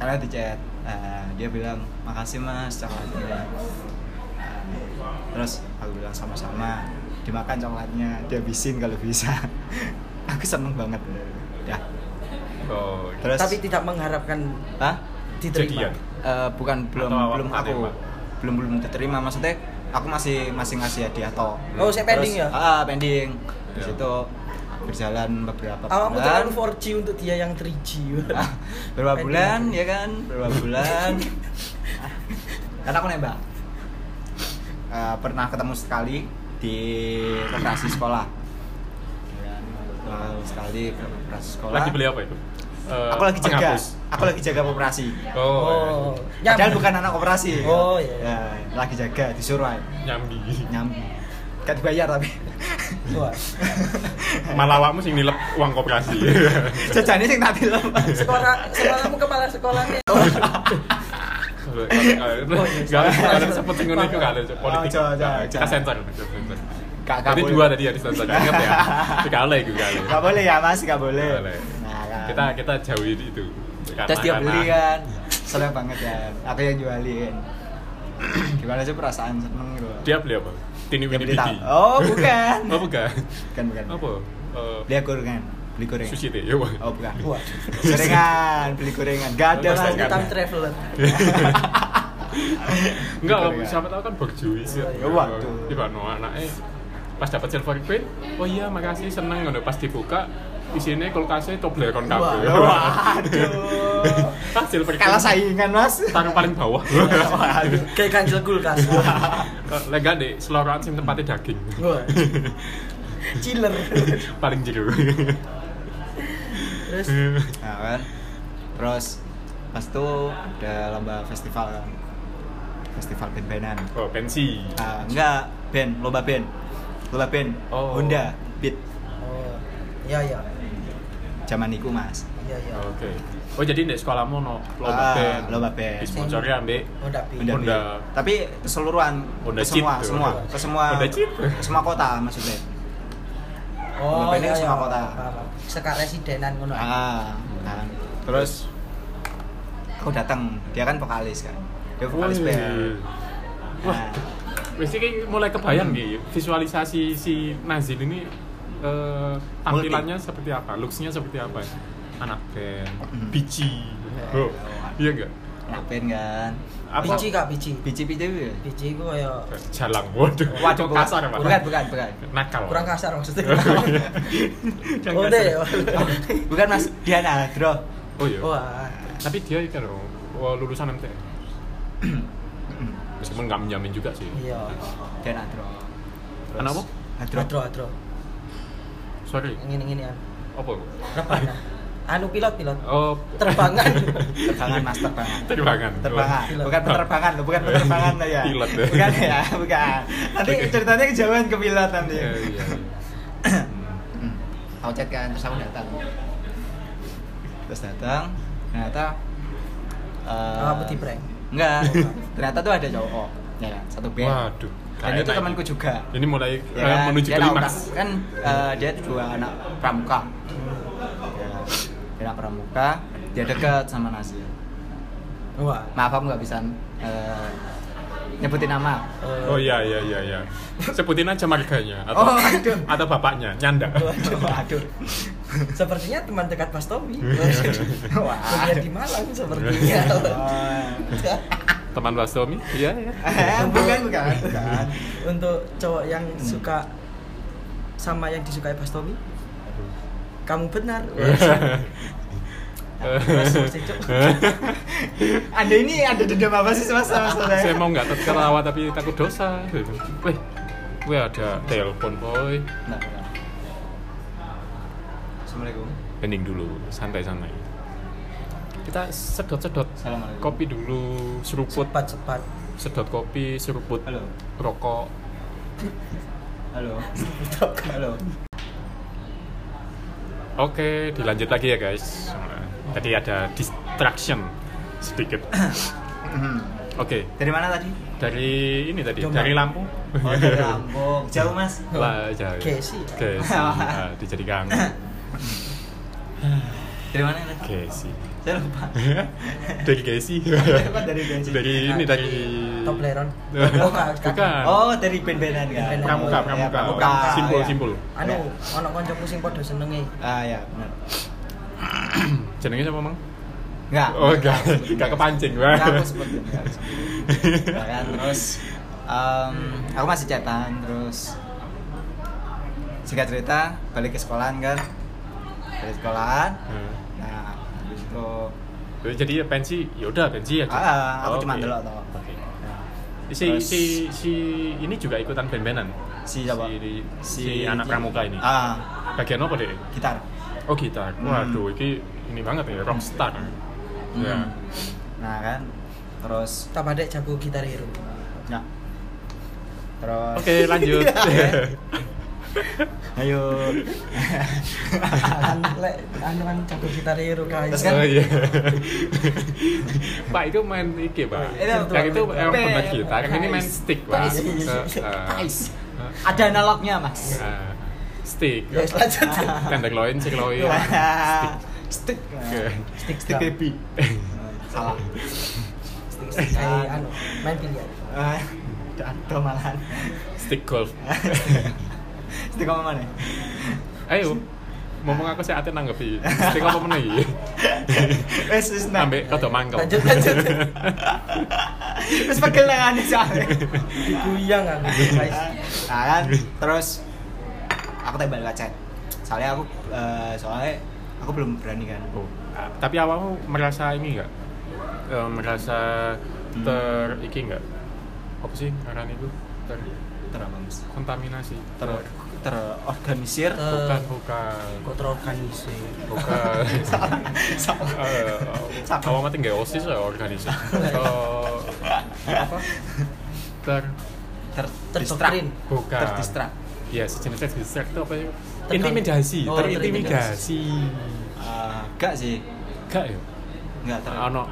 Speaker 5: karena di chat eh, dia bilang makasih mas coklatnya Eh, terus aku bilang sama-sama dimakan coklatnya dihabisin kalau bisa [laughs] aku seneng banget ya
Speaker 2: Oh.
Speaker 5: terus
Speaker 1: Tapi tidak mengharapkan
Speaker 5: Hah?
Speaker 1: diterima.
Speaker 2: Jadian.
Speaker 5: Eh, bukan belum
Speaker 2: Atau awak
Speaker 5: belum
Speaker 2: tak
Speaker 5: aku
Speaker 2: terima?
Speaker 5: belum belum diterima maksudnya aku masih masih ngasih hadiah toh
Speaker 1: Oh, saya pending ya?
Speaker 5: ah pending di
Speaker 2: Ya.
Speaker 5: situ berjalan beberapa
Speaker 1: Awakmu
Speaker 5: bulan.
Speaker 1: terlalu 4G untuk dia yang 3G.
Speaker 5: Ah, [laughs] berapa
Speaker 1: Pending,
Speaker 5: bulan
Speaker 1: pending.
Speaker 5: ya kan berapa bulan
Speaker 1: [laughs]
Speaker 5: Ah, karena aku nembak Eh, pernah ketemu sekali di koperasi sekolah
Speaker 1: Iya,
Speaker 5: Ketemu sekali ke koperasi sekolah
Speaker 2: Lagi beli apa itu? Eh,
Speaker 5: aku lagi jaga
Speaker 2: penghapus.
Speaker 5: aku lagi jaga koperasi
Speaker 2: Oh.
Speaker 1: Oh. Nyam.
Speaker 5: padahal bukan anak koperasi
Speaker 1: Oh, iya.
Speaker 5: Ya, lagi jaga disuruh aja.
Speaker 2: Nyambi.
Speaker 5: nyambi gak dibayar tapi [laughs]
Speaker 1: Wah.
Speaker 2: Malah awakmu sing nilep uang koperasi.
Speaker 5: Oh, iya. jajannya sing tak dilem
Speaker 1: Sekolah sekolahmu kepala sekolahnya. Oh, iya,
Speaker 2: Gak
Speaker 1: salah,
Speaker 2: ada
Speaker 1: salah.
Speaker 2: seperti ngono itu gak ada politik.
Speaker 5: Oh, jangan, jangan,
Speaker 2: Kita
Speaker 5: jangan.
Speaker 2: sensor. kita sensor.
Speaker 5: Gak- gak
Speaker 2: Tadi
Speaker 5: boleh.
Speaker 2: dua tadi ya di sensor. Ingat
Speaker 5: [laughs]
Speaker 2: ya. Gak boleh itu gak boleh.
Speaker 5: gak boleh ya mas gak boleh,
Speaker 2: Gak boleh.
Speaker 5: Nah, kan.
Speaker 2: Kita kita jauhi itu. Karena-
Speaker 5: Terus dia beli
Speaker 2: karena-
Speaker 5: kan, seneng [clears throat] banget ya. Aku yang jualin. Gimana sih perasaan seneng gitu?
Speaker 2: Dia beli apa? Tini Wini
Speaker 5: beli tahu.
Speaker 2: Pidi.
Speaker 5: Oh, bukan.
Speaker 2: [laughs] Oh bukan.
Speaker 5: bukan, Kan bukan.
Speaker 2: Apa? Eh,
Speaker 5: Beli gorengan. Beli gorengan.
Speaker 2: sushi teh. Ya, Pak.
Speaker 5: Oh, bukan.
Speaker 1: Wah.
Speaker 5: Gorengan, beli gorengan. Gak ada
Speaker 2: Pasti
Speaker 5: mas.
Speaker 2: nggak ada.
Speaker 1: Time traveler.
Speaker 2: Enggak,
Speaker 5: Gitu,
Speaker 2: Om.
Speaker 5: ya.
Speaker 2: siapa tahu kan berjuis ya.
Speaker 5: Ya, waduh.
Speaker 2: Tiba no anaknya pas dapat silver queen, oh iya makasih seneng ngono pas dibuka isinya kulkasnya Toblerone kabeh. [laughs]
Speaker 5: Waduh.
Speaker 2: Ah silver queen.
Speaker 5: Kalah saingan
Speaker 2: [laughs]
Speaker 5: mas.
Speaker 2: Taruh paling bawah.
Speaker 5: [laughs] Waduh.
Speaker 1: Kayak kancil kulkas.
Speaker 2: Lega deh, seloran sing tempatnya daging.
Speaker 1: Wah. Chiller.
Speaker 2: paling jero.
Speaker 5: [laughs]
Speaker 1: Terus
Speaker 5: Nah kan. Terus pas itu ada lomba festival kan. Festival band-bandan.
Speaker 2: oh, pensi.
Speaker 5: Ah, enggak, band, lomba band. Lomba band.
Speaker 2: Oh.
Speaker 5: Honda Beat
Speaker 1: oh. Ya ya.
Speaker 5: zaman niku mas.
Speaker 1: Ya ya.
Speaker 2: Oke. Oh, jadi di sekolahmu no lomba
Speaker 5: Ah,
Speaker 2: band.
Speaker 5: lomba band.
Speaker 2: Disponsori ambek
Speaker 1: Oh, tapi.
Speaker 5: Honda,
Speaker 2: Honda.
Speaker 5: Beat. Tapi keseluruhan
Speaker 2: Honda
Speaker 5: ke semua,
Speaker 2: Jeep tuh.
Speaker 5: semua, ke semua,
Speaker 2: Honda Jeep.
Speaker 5: ke semua kota maksudnya.
Speaker 1: Oh,
Speaker 5: Bapaknya
Speaker 1: ya,
Speaker 5: sama kota.
Speaker 1: Sekak residenan ngono.
Speaker 2: Nah.
Speaker 5: Ah, kan. Terus aku datang, dia kan vokalis kan. Dia vokalis
Speaker 2: Wih.
Speaker 5: band.
Speaker 2: Oh, iya. Wah,
Speaker 5: Nah,
Speaker 2: Mesti kayak mulai
Speaker 5: Hmm.
Speaker 2: kebayang nih visualisasi si Nazil ini eh, tampilannya seperti apa, looksnya seperti apa? Anak band,
Speaker 5: Hmm.
Speaker 2: bici, bro, iya nggak?
Speaker 5: anak band kan.
Speaker 2: Apa?
Speaker 1: Biji Kak, biji.
Speaker 5: Biji-biji ya?
Speaker 1: Biji ku kayak
Speaker 2: Jalang, waduh,
Speaker 5: Waduh,
Speaker 2: Kok
Speaker 5: bukan.
Speaker 2: kasar pak.
Speaker 5: Bukan, bukan, bukan.
Speaker 2: Nakal.
Speaker 1: kurang
Speaker 2: [laughs]
Speaker 1: kasar maksudnya.
Speaker 2: Jangan
Speaker 1: Oh,
Speaker 2: kasar.
Speaker 1: deh.
Speaker 5: Bukan Mas, dia anak Hadro.
Speaker 2: Oh iya. [laughs]
Speaker 1: Wah.
Speaker 2: Tapi dia kan oh, lulusan
Speaker 5: [clears throat]
Speaker 2: MTN. Meskipun nggak menjamin juga sih.
Speaker 1: Iya.
Speaker 5: Dia anak Hadro. Terus-
Speaker 2: Anak apa?
Speaker 5: Hadro.
Speaker 1: Adro, adro.
Speaker 2: Sorry,
Speaker 1: Ngene-ngene ya.
Speaker 2: apa?
Speaker 1: Rebana. Anu pilot-pilot.
Speaker 2: Oh,
Speaker 1: Terbangan.
Speaker 5: [laughs] Terbangan Mas, terbangan.
Speaker 2: terbangan.
Speaker 5: Terbangan,
Speaker 1: Pilot.
Speaker 5: bukan penerbangan loh, bukan penerbangan loh ya.
Speaker 2: Pilot.
Speaker 5: Bukan ya, bukan. Nanti
Speaker 2: Oke.
Speaker 5: ceritanya kejauhan ke pilot nanti.
Speaker 2: Iya,
Speaker 5: [laughs]
Speaker 2: iya. Hmm.
Speaker 5: aku chat kan terus aku datang terus datang ternyata eh,
Speaker 1: Apa di prank?
Speaker 5: enggak ternyata tuh ada cowok ya kan, satu band
Speaker 2: Waduh.
Speaker 5: dan
Speaker 2: nggak
Speaker 5: itu
Speaker 2: enak
Speaker 5: temanku
Speaker 2: ini.
Speaker 5: juga
Speaker 2: Ini mulai eh,
Speaker 5: ya kan,
Speaker 2: menuju
Speaker 5: dia
Speaker 2: ke
Speaker 5: tahu
Speaker 2: lima.
Speaker 5: kan, kan eh, dia tuh dua anak pramuka ya, kan. dia anak pramuka dia deket sama Nasir
Speaker 1: Wah.
Speaker 5: maaf aku nggak bisa eh, nyebutin nama
Speaker 1: Eh,
Speaker 2: Oh
Speaker 1: [laughs]
Speaker 2: iya iya iya iya. Sebutin aja marganya atau
Speaker 5: oh aduh
Speaker 2: [laughs]
Speaker 5: Oh.
Speaker 2: atau bapaknya, nyanda.
Speaker 5: aduh aduh
Speaker 1: Sepertinya teman dekat Mas
Speaker 2: [laughs]
Speaker 1: Tommy.
Speaker 2: Iya.
Speaker 5: Wah.
Speaker 1: Kuliah di Malang sepertinya.
Speaker 2: Iya. Teman Mas Tommy? Iya iya.
Speaker 5: Eh, bukan bukan bukan
Speaker 1: [laughs] Untuk cowok yang
Speaker 5: Hmm.
Speaker 1: suka sama yang disukai Mas Tommy, kamu
Speaker 2: [laughs]
Speaker 1: benar.
Speaker 2: Iya.
Speaker 1: Terus, Mas Ico.
Speaker 5: Anda ini ada dendam apa sih mas sama saudara?
Speaker 2: Saya mau nggak tertawa tapi takut dosa. Weh, gue ada telepon boy.
Speaker 5: Bentar, bentar. Assalamualaikum.
Speaker 2: Pending dulu, santai-santai. Kita sedot-sedot
Speaker 5: Assalamualaikum.
Speaker 2: kopi dulu, seruput,
Speaker 1: cepat cepat.
Speaker 2: sedot kopi, seruput,
Speaker 5: Halo.
Speaker 2: rokok.
Speaker 5: [laughs] Halo. Halo.
Speaker 2: Oke, dilanjut lagi ya guys. Tadi ada distraction sedikit.
Speaker 5: [coughs]
Speaker 2: Oke,
Speaker 5: Hmm. Dari mana tadi?
Speaker 2: dari ini tadi,
Speaker 1: Jombang.
Speaker 2: dari Lampung.
Speaker 5: Oh dari ya? Lampung. Jauh mas.
Speaker 2: [laughs] Lah, jauh.
Speaker 1: Gesi.
Speaker 2: Gesi.
Speaker 5: [laughs]
Speaker 2: Ah, dijadi
Speaker 5: [coughs]
Speaker 2: kangen.
Speaker 5: Dari mana tadi?
Speaker 2: Gesi.
Speaker 5: Saya [laughs] lupa.
Speaker 2: dari Gesi.
Speaker 5: Kok [laughs] dari Gesi? Ah,
Speaker 2: Dari ini dari [laughs]
Speaker 1: Tobleron.
Speaker 2: Bukan.
Speaker 1: Bukan.
Speaker 5: Oh dari band-bandan kan?
Speaker 1: Band-bandan.
Speaker 2: Pramuka,
Speaker 5: Ya,
Speaker 2: pramuka.
Speaker 5: pramuka.
Speaker 2: Simpul,
Speaker 5: ya.
Speaker 2: simpul.
Speaker 1: Anu, ono kancaku sing padha senenge.
Speaker 5: Ah ya benar.
Speaker 2: Jenenge siapa,
Speaker 5: [laughs]
Speaker 2: Mang?
Speaker 5: Enggak.
Speaker 2: Oh, enggak. Enggak kepancing. Wah.
Speaker 5: Enggak, aku sempet enggak, aku [laughs] sempet. Ya kan, terus em, aku masih cetan terus singkat cerita balik ke sekolahan kan balik sekolahan nah habis itu
Speaker 2: Eh, [laughs] Jadi ya pensi, yaudah pensi aja.
Speaker 5: ah, aku
Speaker 2: Oh,
Speaker 5: cuma
Speaker 2: oke.
Speaker 5: delok toh
Speaker 2: Oke.
Speaker 5: Nah,
Speaker 2: Si,
Speaker 5: Terus-
Speaker 2: si, si ini juga ikutan band-bandan?
Speaker 5: si siapa
Speaker 2: Si, si anak pramuka ini?
Speaker 5: ah
Speaker 2: Bagian apa deh?
Speaker 5: gitar
Speaker 2: Oh gitar.
Speaker 5: Hmm.
Speaker 2: Waduh, ini ini banget ya, rockstar. Ya.
Speaker 5: Hmm. nah kan terus
Speaker 1: Tambah dek jago gitar
Speaker 2: [laughs]
Speaker 1: hero.
Speaker 5: ya terus Iya.
Speaker 2: Oke,
Speaker 5: [laughs]
Speaker 2: [laughs] lanjut. Iya.
Speaker 5: ayo
Speaker 1: Anu, lek, anu kan jago gitar hero guys.
Speaker 5: Terus kan-
Speaker 2: Oh iya. [laughs] Pak itu main iki, Pak.
Speaker 5: Itu
Speaker 2: yang itu
Speaker 5: apa?
Speaker 2: emang pemain
Speaker 5: Pe-
Speaker 2: gitar, yang ini main
Speaker 5: Tais.
Speaker 2: stick, Pak.
Speaker 5: Tais. [laughs]
Speaker 2: Eh, eh,
Speaker 5: Tais.
Speaker 2: eh,
Speaker 5: ada analognya mas
Speaker 2: eh, stick.
Speaker 1: Ya, lanjut.
Speaker 2: [laughs] Tendang loin, sik loin.
Speaker 5: Wah, [laughs] stick
Speaker 2: Iya. Oke.
Speaker 5: stick stick baby salah Iya.
Speaker 1: Kayak anu, main biliar.
Speaker 5: Eh, Ada
Speaker 2: [laughs]
Speaker 5: malahan.
Speaker 2: [laughs] stick golf
Speaker 5: Itu kamu mana?
Speaker 2: ayo ngomong aku sih ate nanggepi stick apa meneh iki
Speaker 5: Wes wes nah.
Speaker 2: ambek kado mangkel
Speaker 1: Lanjut,
Speaker 2: [laughs]
Speaker 1: lanjut.
Speaker 5: Wes pegel nang ane soalnya.
Speaker 1: diguyang aku guys
Speaker 5: Nah kan, terus aku tembak ke chat. Soalnya aku eh, soalnya aku belum berani kan.
Speaker 2: Oh, ah, tapi awalmu merasa ini nggak Eh, merasa ter iki nggak apa sih ngaran itu ter
Speaker 5: Terus
Speaker 2: kontaminasi
Speaker 5: ter terorganisir
Speaker 1: Ter-
Speaker 5: [laughs]
Speaker 2: bukan bukan
Speaker 1: kok terorganisir
Speaker 2: bukan
Speaker 5: Salah.
Speaker 2: Eh,
Speaker 5: [laughs] Salah.
Speaker 2: awal mati nggak osis ya organisasi Eh, apa ter
Speaker 5: ter
Speaker 1: Terdoktrin.
Speaker 5: distract.
Speaker 2: bukan
Speaker 5: Terdistrak.
Speaker 2: ya sejenis terdistrak itu apa ya
Speaker 1: Terganggu.
Speaker 2: intimidasi
Speaker 1: Oh,
Speaker 2: terintimidasi
Speaker 5: Eh, enggak sih
Speaker 2: enggak ya
Speaker 5: enggak ter
Speaker 2: ono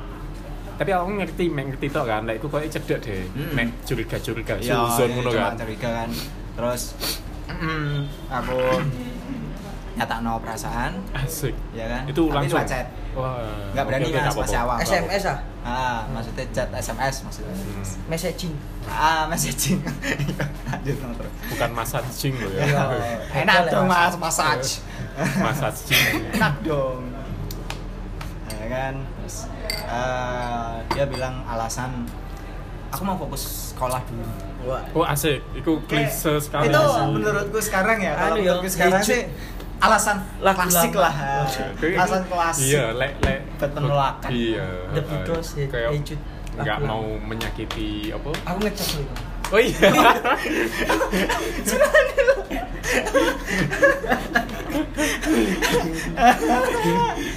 Speaker 2: tapi aku ngerti mek ngerti tok kan lek iku koyo cedek deh
Speaker 5: Mm-mm.
Speaker 2: mek curiga curiga
Speaker 5: Ya,
Speaker 2: suzon
Speaker 5: ya,
Speaker 2: ngono
Speaker 5: Hmm. cuma
Speaker 2: kan
Speaker 5: curiga kan terus [clears throat] aku nyatakno perasaan
Speaker 2: asik
Speaker 5: ya kan
Speaker 2: itu
Speaker 5: Tapi
Speaker 2: langsung
Speaker 5: lewat chat
Speaker 2: wah
Speaker 5: Nggak berani,
Speaker 2: oke, oke,
Speaker 5: Mas,
Speaker 2: nggak
Speaker 5: masih
Speaker 2: apa-apa.
Speaker 5: awal.
Speaker 1: SMS ah
Speaker 5: ah maksudnya chat SMS maksudnya
Speaker 2: Hmm,
Speaker 1: messaging
Speaker 5: ah messaging [laughs] lanjut no, terus
Speaker 2: bukan massaging loh ya
Speaker 5: Ya,
Speaker 1: Boleh,
Speaker 5: [laughs] enak dong
Speaker 1: Mas.
Speaker 5: mas massage
Speaker 2: Iya. massaging
Speaker 5: enak dong ya kan terus eh, dia bilang alasan aku mau fokus sekolah dulu
Speaker 1: wah
Speaker 2: [laughs] oh asik itu klise sekali
Speaker 5: Eh, itu
Speaker 2: sih.
Speaker 5: menurutku sekarang ya
Speaker 1: Anu
Speaker 5: kalau
Speaker 1: ya,
Speaker 5: menurutku sekarang
Speaker 1: hijau.
Speaker 5: sih alasan
Speaker 1: Lah,
Speaker 5: klasik
Speaker 1: lah.
Speaker 5: lah
Speaker 2: Oke, itu-
Speaker 5: alasan klasik
Speaker 2: iya lek lek
Speaker 5: Bertolak.
Speaker 2: iya
Speaker 1: The
Speaker 2: eh,
Speaker 1: Beatles, ya,
Speaker 2: kayak
Speaker 1: Hey Jude.
Speaker 2: nggak
Speaker 1: Aku-
Speaker 2: mau menyakiti apa
Speaker 1: [laughs] aku ngecek dulu
Speaker 2: oh iya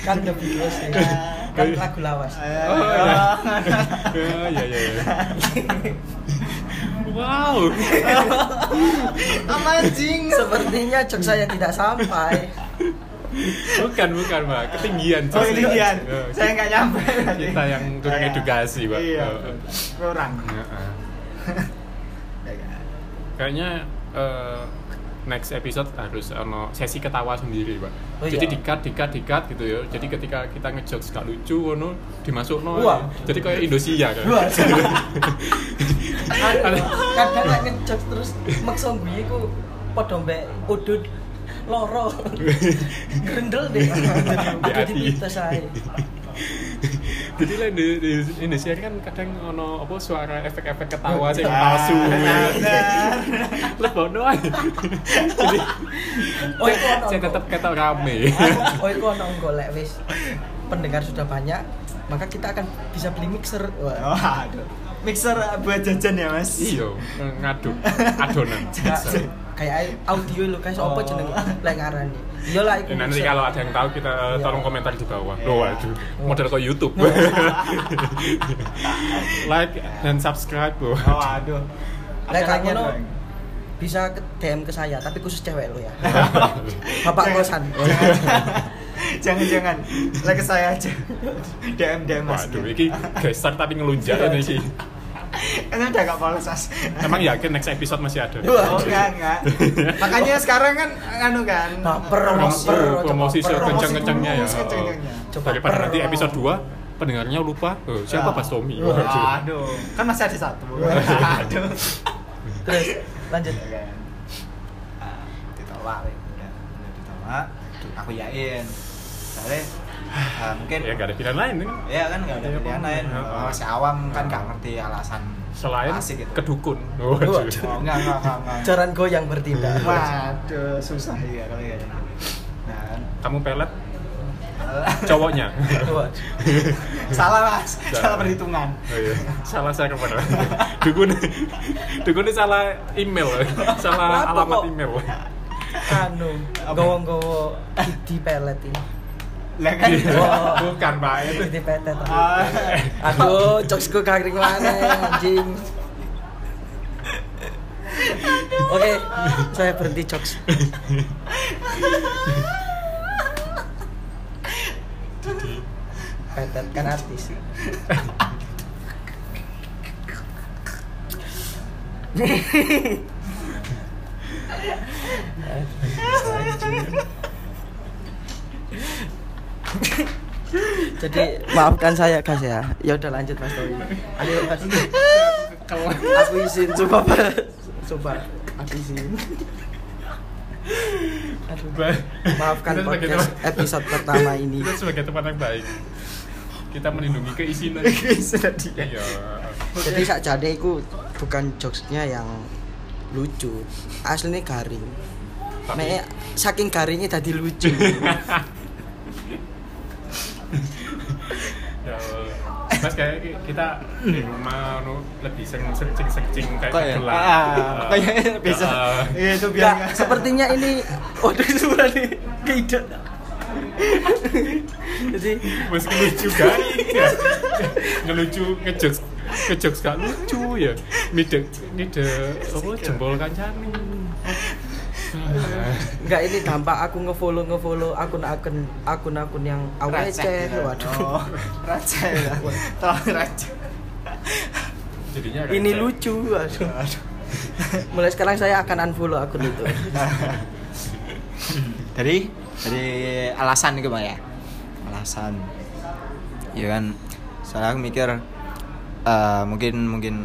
Speaker 1: kan The Beatles ya kan lagu lawas
Speaker 5: Eh,
Speaker 2: Oh, iya.
Speaker 5: eh,
Speaker 2: Ya, ya, ya, ya. Wow.
Speaker 5: apa jing
Speaker 1: sepertinya jok saya tidak sampai
Speaker 2: Bukan, bukan, Mbak. Ketinggian.
Speaker 5: [laughs] oh ini dia
Speaker 2: Eh,
Speaker 5: saya nggak nyampe
Speaker 2: Kita yang kurang
Speaker 5: Saya-
Speaker 2: edukasi, Pak.
Speaker 5: iya
Speaker 2: Eh,
Speaker 5: kurang
Speaker 2: Heeh. [laughs] Kayaknya eh, next episode harus ono sesi ketawa sendiri, Pak.
Speaker 1: Oh,
Speaker 2: Jadi
Speaker 1: iya.
Speaker 2: dikat, dikat, dikat gitu ya. Jadi ketika kita ngejokes gak lucu, ono dimasukno.
Speaker 1: Wah.
Speaker 2: Jadi kayak Indonesia kan. [laughs]
Speaker 1: Wah.
Speaker 2: Ada-
Speaker 1: Kan kadang nek ngejok terus maksa gue iku padha mbek udut
Speaker 2: [laughs]
Speaker 1: loro grendel deh
Speaker 2: Di
Speaker 1: jadi
Speaker 2: hati.
Speaker 1: pita saya
Speaker 2: Jadi lah di, di Indonesia ini kan kadang ono apa suara efek-efek ketawa sih yang palsu. [laughs]
Speaker 5: Benar.
Speaker 2: Lah bono ae. Jadi
Speaker 1: oh itu ono
Speaker 2: saya
Speaker 1: engko.
Speaker 2: tetap kata rame.
Speaker 1: oh itu ono engko lek wis pendengar sudah banyak maka kita akan bisa beli mixer Wah.
Speaker 5: Oh, aduh. Mixer buat jajan ya, Mas?
Speaker 2: Iya, ngaduk adonan.
Speaker 1: Nggak, kayak ai- audio lo guys apa
Speaker 5: Oh.
Speaker 1: jeneng lek ngarani iyalah iku
Speaker 2: Dan nanti
Speaker 1: mixer.
Speaker 2: kalau ada yang tahu kita eh,
Speaker 1: Iya.
Speaker 2: tolong komentar di bawah.
Speaker 5: Iya.
Speaker 2: Loh, waduh, model kok YouTube. [laughs] like dan subscribe loh.
Speaker 5: Oh, aduh.
Speaker 1: Lah,
Speaker 5: Ada
Speaker 1: kalau
Speaker 5: lagi
Speaker 1: ngono-
Speaker 5: apa, Bang?
Speaker 1: bisa ke DM ke saya tapi khusus cewek lo ya [laughs] bapak
Speaker 5: [laughs]
Speaker 1: kosan
Speaker 5: Jangan-jangan. Lah ke saya aja. DM DM
Speaker 2: [laughs]
Speaker 5: Mas.
Speaker 2: Waduh, ini geser tapi ngelunjak ini sih.
Speaker 5: Kan udah gak polos.
Speaker 2: Emang yakin next episode masih ada?
Speaker 1: Wah.
Speaker 5: [laughs] Oh, enggak,
Speaker 2: [laughs]
Speaker 5: enggak. Makanya sekarang kan anu kan.
Speaker 1: Baper,
Speaker 2: promosi
Speaker 1: baper, coba promosi
Speaker 2: promosi sekencang-kencangnya ya.
Speaker 5: dulu, sekencang-kencangnya.
Speaker 1: Coba
Speaker 2: Daripada nanti
Speaker 1: promo.
Speaker 2: episode 2 pendengarnya lupa eh, siapa
Speaker 5: Ah.
Speaker 2: Pas Tommy.
Speaker 5: Wah, Aduh. Kan masih ada
Speaker 2: [laughs]
Speaker 5: satu.
Speaker 1: [laughs]
Speaker 5: Aduh.
Speaker 1: terus lanjut
Speaker 5: Ya kan. Ah, ditolak weh. udah udah ditolak aku yakin soalnya ah, mungkin
Speaker 2: Ya nggak ada pilihan lain kan.
Speaker 5: ya kan nggak ada
Speaker 2: Iya,
Speaker 5: pilihan
Speaker 2: Pak.
Speaker 5: lain
Speaker 2: Iya, Pak.
Speaker 5: masih awam kan nggak ngerti alasan
Speaker 2: Selain
Speaker 5: asik gitu
Speaker 2: kedukun.
Speaker 5: oh, enggak enggak enggak, enggak.
Speaker 1: jaran goyang bertindak
Speaker 5: waduh susah ya kalau ya nah kan.
Speaker 2: Kamu pelet cowoknya.
Speaker 1: Wah.
Speaker 5: [laughs] salah mas
Speaker 2: Salah.
Speaker 5: salah perhitungan
Speaker 2: Oh, iya. Salah saya kemana? Dukun, dukun ini salah email, salah
Speaker 1: Kenapa
Speaker 2: alamat
Speaker 1: kok?
Speaker 2: email.
Speaker 1: anu
Speaker 5: Apa?
Speaker 1: gowo-gowo di pelet ini
Speaker 5: lah kan
Speaker 1: Wah.
Speaker 2: Iya. Bukan pak, itu
Speaker 1: di petet
Speaker 2: [laughs]
Speaker 5: [laughs] Ah,
Speaker 1: aduh jokesku kagring mana anjing oke saya berhenti jokes petet kan artis jadi maafkan saya guys ya ya udah lanjut mas Tommy ayo mas
Speaker 5: ke
Speaker 3: nyekel
Speaker 1: aku izin coba Mas. coba aku izin Aduh. maafkan
Speaker 2: Kita sebagai
Speaker 1: podcast
Speaker 2: teman-
Speaker 1: episode pertama ini
Speaker 2: kita sebagai teman yang baik kita melindungi keisinan iya
Speaker 1: jadi sakjane iku bukan jokesnya yang lucu aslinya garing
Speaker 2: Tapi-
Speaker 1: Meknya saking garingnya tadi [laughs] lucu
Speaker 2: Ya, Mas kayak kita di rumah nu lebih seng searching searching kayak
Speaker 5: Kok ya?
Speaker 2: tenggelam.
Speaker 5: Ah, Kayaknya
Speaker 2: Eh,
Speaker 5: [laughs] bisa.
Speaker 2: eh,
Speaker 5: Iya, itu biar
Speaker 1: Nggak,
Speaker 5: nggak-
Speaker 1: sepertinya ini waduh suara nih keide jadi
Speaker 2: Mas lucu garing ya. Ngelucu ngejokes ngejokes gak lucu ya. Mide mide apa jempol kancane. Ah,
Speaker 1: Enggak ini dampak aku ngefollow ngefollow akun-akun akun-akun yang awc waduh
Speaker 5: Oh, receh
Speaker 1: [laughs]
Speaker 5: ya. Terlalu receh.
Speaker 2: Jadinya kayak
Speaker 1: ini
Speaker 2: kayak-
Speaker 1: lucu waduh mulai sekarang saya akan unfollow akun itu
Speaker 5: [laughs] dari dari alasan itu pak ya alasan ya kan soalnya aku mikir eh, mungkin mungkin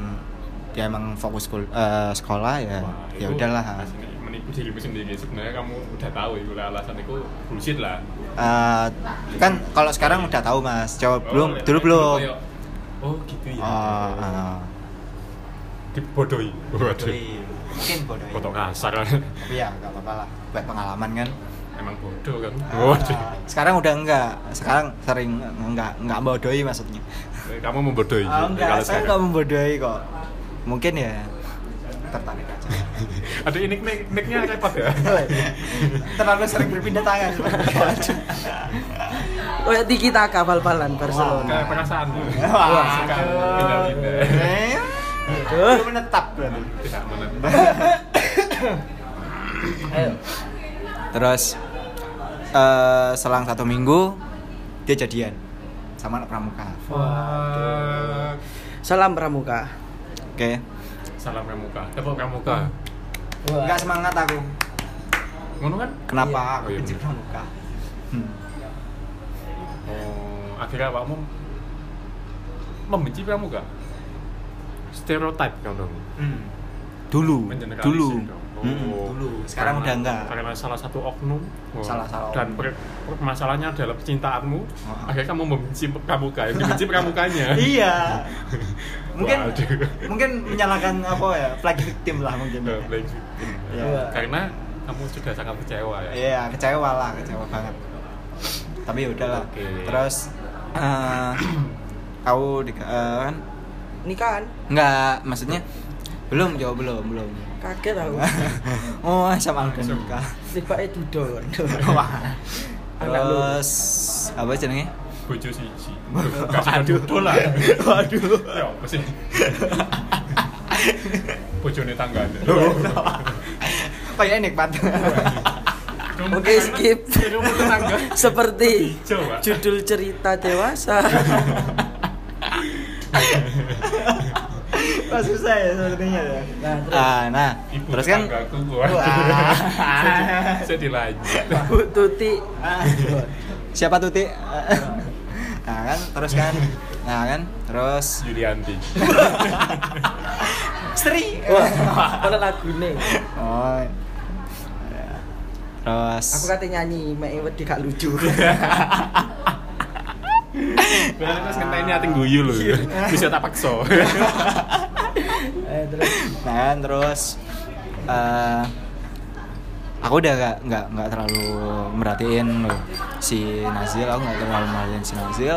Speaker 5: dia emang fokus kul- eh, sekolah ya
Speaker 2: Wah,
Speaker 5: ya
Speaker 2: itu
Speaker 5: udahlah
Speaker 2: asli menipu dirimu sendiri sebenarnya kamu udah tahu itu lah alasan itu bullshit lah
Speaker 5: Eh, kan kalau sekarang udah tahu mas jawab iya. belum
Speaker 2: Oh,
Speaker 5: dulu
Speaker 2: ya,
Speaker 5: belum
Speaker 2: kayak, oh gitu ya
Speaker 5: Oh, ah.
Speaker 2: dibodohi waduh
Speaker 5: mungkin bodoh ya.
Speaker 2: foto kasar [laughs]
Speaker 5: tapi ya nggak apa-apa lah buat pengalaman kan
Speaker 2: emang bodoh kan waduh
Speaker 5: Ah, sekarang udah enggak sekarang sering enggak enggak bodohi maksudnya
Speaker 2: kamu membodohi
Speaker 5: Ah, enggak,
Speaker 2: kalau
Speaker 5: saya enggak
Speaker 2: sekarang.
Speaker 5: membodohi kok. Mungkin ya tertarik [laughs] aja.
Speaker 2: aduh ini nick nicknya repot
Speaker 5: [laughs]
Speaker 2: ya
Speaker 5: Terlalu sering berpindah tangan.
Speaker 1: oh ya Tiki Taka bal-balan Barcelona
Speaker 2: kayak perasaan lu
Speaker 5: Wah,
Speaker 2: suka
Speaker 5: aduh.
Speaker 2: pindah-pindah
Speaker 5: Eh,
Speaker 1: Aduh.
Speaker 5: belum menetap berarti.
Speaker 2: tidak menentu
Speaker 5: Terus eh, selang satu minggu dia jadian sama anak pramuka.
Speaker 2: Wah.
Speaker 1: salam pramuka
Speaker 5: Oke.
Speaker 2: salam pramuka tepuk pramuka
Speaker 5: Hmm. Enggak semangat aku.
Speaker 2: ngono kan
Speaker 5: Kenapa
Speaker 2: Iya.
Speaker 5: aku
Speaker 2: Oh, iya,
Speaker 5: benci
Speaker 2: bener.
Speaker 5: pramuka? Hmm.
Speaker 2: oh akhirnya awakmu membenci pramuka stereotip kan dong
Speaker 5: Dulu,
Speaker 2: Mengeneralisir
Speaker 5: dulu. Hmm.
Speaker 2: dong.
Speaker 5: Mm-mm,
Speaker 2: Oh.
Speaker 5: Hmm. dulu. Sekarang
Speaker 2: Karena-
Speaker 5: udah enggak.
Speaker 2: Karena salah satu oknum. Wah.
Speaker 5: Salah satu
Speaker 2: Dan
Speaker 5: oknum.
Speaker 2: per, per- masalahnya adalah percintaanmu.
Speaker 5: Oh.
Speaker 2: Akhirnya kamu membenci pramuka, yang
Speaker 5: [laughs]
Speaker 2: dibenci pramukanya.
Speaker 5: iya
Speaker 2: [laughs]
Speaker 5: mungkin
Speaker 2: Waduh.
Speaker 5: mungkin menyalahkan apa ya flag victim lah mungkin
Speaker 2: Nah, black sheep.
Speaker 5: Iya.
Speaker 2: Karena kamu sudah sangat kecewa ya.
Speaker 5: iya kecewa lah kecewa banget tapi ya udahlah
Speaker 2: Oke.
Speaker 5: terus eh, kau di eh, kan
Speaker 1: nikahan
Speaker 5: nggak maksudnya belum jauh belum
Speaker 2: [laughs]
Speaker 5: belum
Speaker 1: kaget aku
Speaker 5: oh sama aku nikah
Speaker 1: tiba itu dong
Speaker 5: Oh, Wah.
Speaker 1: Anak lu.
Speaker 5: terus apa jenenge
Speaker 2: Bojo
Speaker 5: [laughs]
Speaker 2: siji. Aduh, dolar.
Speaker 5: waduh
Speaker 2: Ya, apa
Speaker 5: [laughs]
Speaker 2: sih? Bojone tanggane.
Speaker 5: Iya. kayak nikmat
Speaker 1: Oke, skip.
Speaker 2: Rumah tetangga.
Speaker 1: seperti
Speaker 2: Hijau, Pak.
Speaker 1: judul cerita dewasa
Speaker 5: [laughs] Wah, susah ya sepertinya ya
Speaker 1: Nah, terus.
Speaker 5: Ah, nah
Speaker 2: Ibu
Speaker 5: terus kan
Speaker 2: tetanggaku gua.
Speaker 5: Wah.
Speaker 2: Saya di- Saya dilanjut.
Speaker 1: Bu Tuti
Speaker 5: siapa tuh ti nah kan terus kan nah kan terus
Speaker 2: Yulianti.
Speaker 5: Sri
Speaker 1: wah kalau lagu nih
Speaker 5: oh Ya. terus
Speaker 1: aku kan- kata nyanyi mek wedi gak lucu
Speaker 2: Padahal terus ngenteni ati guyu lho.
Speaker 5: Iya.
Speaker 2: Bisa tak paksa.
Speaker 1: eh, terus
Speaker 5: nah kan terus eh, aku udah gak nggak nggak terlalu merhatiin loh si Nazil aku nggak terlalu merhatiin si Nazil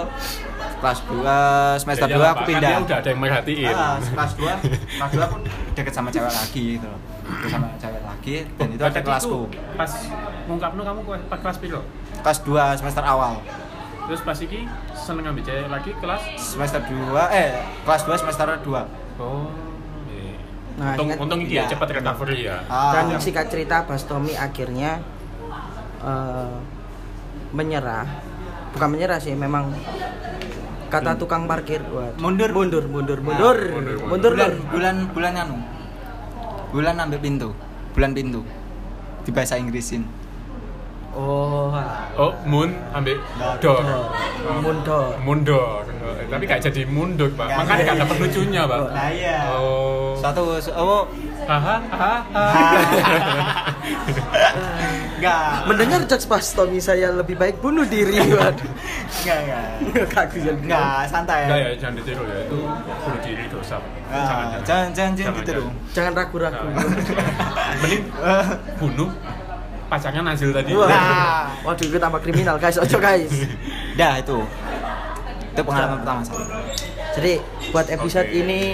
Speaker 5: kelas 2 semester
Speaker 2: Ya,
Speaker 5: 2
Speaker 2: iyalah, Pak.
Speaker 5: aku
Speaker 2: Kan
Speaker 5: pindah
Speaker 2: dia udah ada yang merhatiin.
Speaker 5: Ah, kelas 2 kelas 2 aku deket sama cewek lagi gitu loh deket sama cewek lagi dan itu ada
Speaker 2: Berarti
Speaker 5: kelasku
Speaker 2: Pas ngungkapno kamu ke- pas kelas piro?
Speaker 5: kelas 2 semester awal
Speaker 2: Terus pas iki seneng ambil cewek lagi kelas
Speaker 5: semester 2 eh kelas 2 semester 2
Speaker 2: Oh. iya.
Speaker 1: Nah,
Speaker 2: untung,
Speaker 1: ingat-
Speaker 2: untung iki ya
Speaker 5: iya.
Speaker 2: cepat recovery ya.
Speaker 5: Ah.
Speaker 1: dan singkat cerita Bastomi akhirnya eh, menyerah bukan menyerah sih memang kata tukang parkir waduh.
Speaker 5: Mundur.
Speaker 1: mundur mundur
Speaker 5: Ah,
Speaker 1: mundur
Speaker 2: mundur, mundur.
Speaker 1: mundur
Speaker 5: bulan
Speaker 1: Lur.
Speaker 5: bulan bulan anu bulan ambil pintu bulan pintu di bahasa Inggrisin
Speaker 1: Oh, ah.
Speaker 2: Oh, Moon ambil dor.
Speaker 1: Dor. Moon dor.
Speaker 2: Mundur. Eh, Tapi gak jadi mundur, Pak.
Speaker 5: Nggak
Speaker 2: Makanya gak
Speaker 5: jadi.
Speaker 2: dapet lucunya, Pak.
Speaker 5: Nah iya.
Speaker 2: Oh.
Speaker 5: Suatu su- oh
Speaker 2: Haha, haha, haha.
Speaker 5: enggak.
Speaker 1: Mendengar Jack Tommy saya lebih baik bunuh diri, waduh.
Speaker 5: Enggak enggak.
Speaker 1: Kaku jadi.
Speaker 5: Enggak, santai.
Speaker 2: Enggak ya, jangan ditiru ya. Itu bunuh diri dosa. Pak.
Speaker 5: Ah, jangan jangan jangan gitu dong. [laughs]
Speaker 1: Jangan ragu-ragu.
Speaker 2: Nah. Mending
Speaker 5: Eh,
Speaker 2: bunuh pacarnya Nazil tadi.
Speaker 1: Wah.
Speaker 5: Nah.
Speaker 1: Waduh, itu tambah kriminal, guys. Ojo, guys.
Speaker 5: Dah itu. Itu pengalaman pertama saya.
Speaker 1: Jadi, buat episode
Speaker 2: Oke.
Speaker 1: ini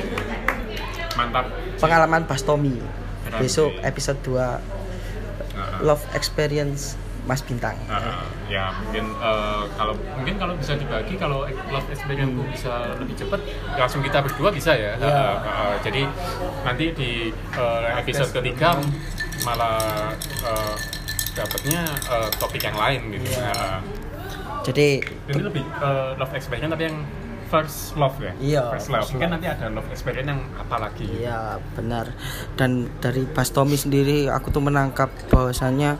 Speaker 2: Mantap.
Speaker 1: pengalaman Mas Tommy.
Speaker 2: Berarti.
Speaker 1: Besok episode 2
Speaker 2: Nah.
Speaker 1: Love Experience Mas Bintang.
Speaker 2: Nah, ya mungkin eh, kalau mungkin kalau bisa dibagi kalau love experience
Speaker 1: Hmm.
Speaker 2: ku bisa lebih cepat langsung kita berdua bisa ya. Eh, eh, jadi nanti di eh, episode ketiga malah eh, dapatnya eh, topik yang lain gitu.
Speaker 1: Iya.
Speaker 2: Nah,
Speaker 1: Jadi,
Speaker 2: ini lebih eh, love experience tapi yang first love ya.
Speaker 1: Iya,
Speaker 2: First love.
Speaker 1: first
Speaker 2: Mungkin
Speaker 1: love.
Speaker 2: nanti ada love experience yang apa lagi?
Speaker 1: Iya benar dan dari Mas Tommy sendiri aku tuh menangkap bahwasannya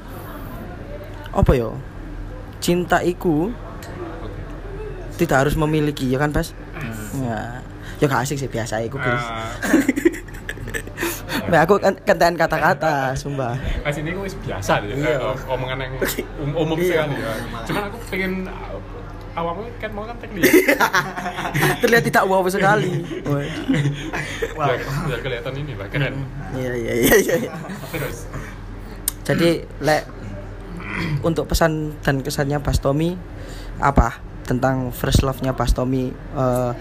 Speaker 1: apa ya cinta iku
Speaker 2: Oke.
Speaker 1: tidak harus memiliki ya kan Pas ya ya gak asik sih biasa iku guys
Speaker 2: Eh,
Speaker 1: Mbak, aku kan kentean kata-kata sumpah
Speaker 2: Mas ini wis biasa deh,
Speaker 1: Iya.
Speaker 2: eh, omongan yang um- umum
Speaker 1: Iya.
Speaker 2: sekali ya. Cuman aku pengen uh, awalnya kan mau kan teknik.
Speaker 1: Iya. terlihat tidak wow sekali Woy.
Speaker 2: Biar, biar kelihatan ini lah keren.
Speaker 1: iya iya iya iya
Speaker 2: Terus
Speaker 1: jadi lek untuk pesan dan kesannya Pas Tommy apa tentang first love-nya Pas Tommy eh,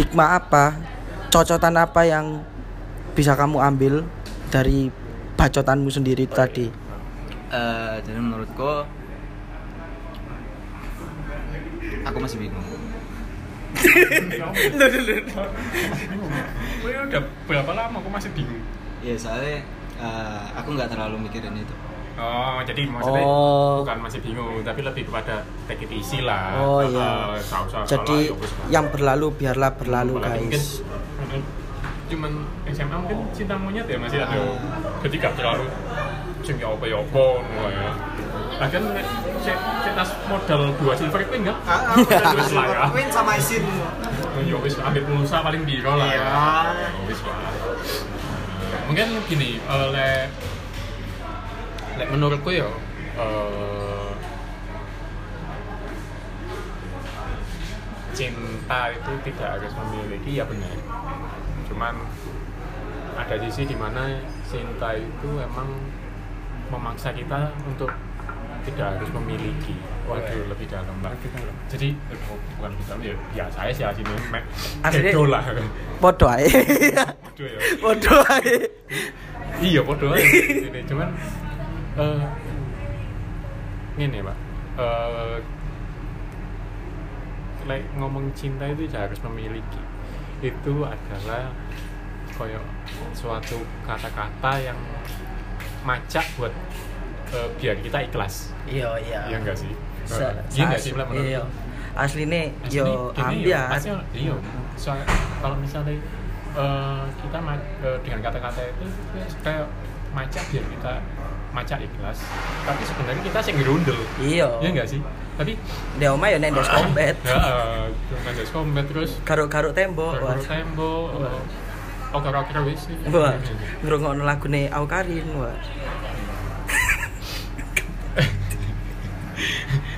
Speaker 1: hikmah apa cocotan apa yang bisa kamu ambil dari bacotanmu sendiri itu tadi
Speaker 5: Eh, jadi menurutku aku masih bingung.
Speaker 2: gue oh, udah berapa lama aku masih bingung.
Speaker 5: Iya, soalnya eh, aku nggak terlalu mikirin itu.
Speaker 2: Oh, jadi maksudnya
Speaker 1: Oh.
Speaker 2: bukan masih bingung, tapi lebih kepada take it easy lah.
Speaker 1: oh
Speaker 2: Eh,
Speaker 1: iya
Speaker 2: eh, salah-salah,
Speaker 1: jadi
Speaker 2: ya wis lah.
Speaker 1: yang berlalu biarlah berlalu
Speaker 2: Apalagi
Speaker 1: guys
Speaker 2: mungkin, eh, cuman SMA mungkin cinta monyet ya masih ada jadi gak terlalu sing ya apa ya apa ngono ya lagian nek cek- cek tas modal dua silver queen kan Wis lah ya
Speaker 5: sama isin.
Speaker 2: ya wis lah, ambil pulsa paling biro lah ya
Speaker 5: Iya.
Speaker 2: Ya wis lah mungkin gini eh, lek lek menurutku ya eh, cinta itu tidak harus memiliki ya benar cuman ada sisi dimana cinta itu emang memaksa kita untuk tidak harus memiliki waduh lebih dalam lah jadi eh, bu- bukan lebih dalam ya biasa aja sih aslinya mek
Speaker 1: Aslinya-
Speaker 2: kedo [laughs] lah
Speaker 1: bodoh ae [laughs]
Speaker 2: Kedo ya.
Speaker 1: bodoh ae
Speaker 2: iya podo
Speaker 1: [laughs]
Speaker 2: aja ini cuman eh ini pak eh like, ngomong cinta itu tidak harus memiliki itu adalah koyo suatu kata-kata yang macak buat eh, biar kita ikhlas
Speaker 1: iya iya
Speaker 2: iya enggak sih
Speaker 1: Sa-
Speaker 2: iya enggak sih
Speaker 1: sa-
Speaker 2: Lah, menurut
Speaker 1: iya. asline
Speaker 2: Nah,
Speaker 1: yo ya.
Speaker 2: Asli,
Speaker 1: ambiar
Speaker 2: pasti iya soal kalau misalnya eh, kita ma- eh, dengan kata-kata itu kayak maca biar kita maca ikhlas tapi sebenarnya kita sih ngerundel
Speaker 1: iya
Speaker 2: iya nggak sih tapi
Speaker 1: di omah yo nendes kompet
Speaker 2: ya eh, dengan ada combat terus
Speaker 1: garuk-garuk tembok wah.
Speaker 2: terus tembok
Speaker 1: Wah.
Speaker 2: eh, oker-oker wis
Speaker 1: wah ngrungokno lagune Au Karin wah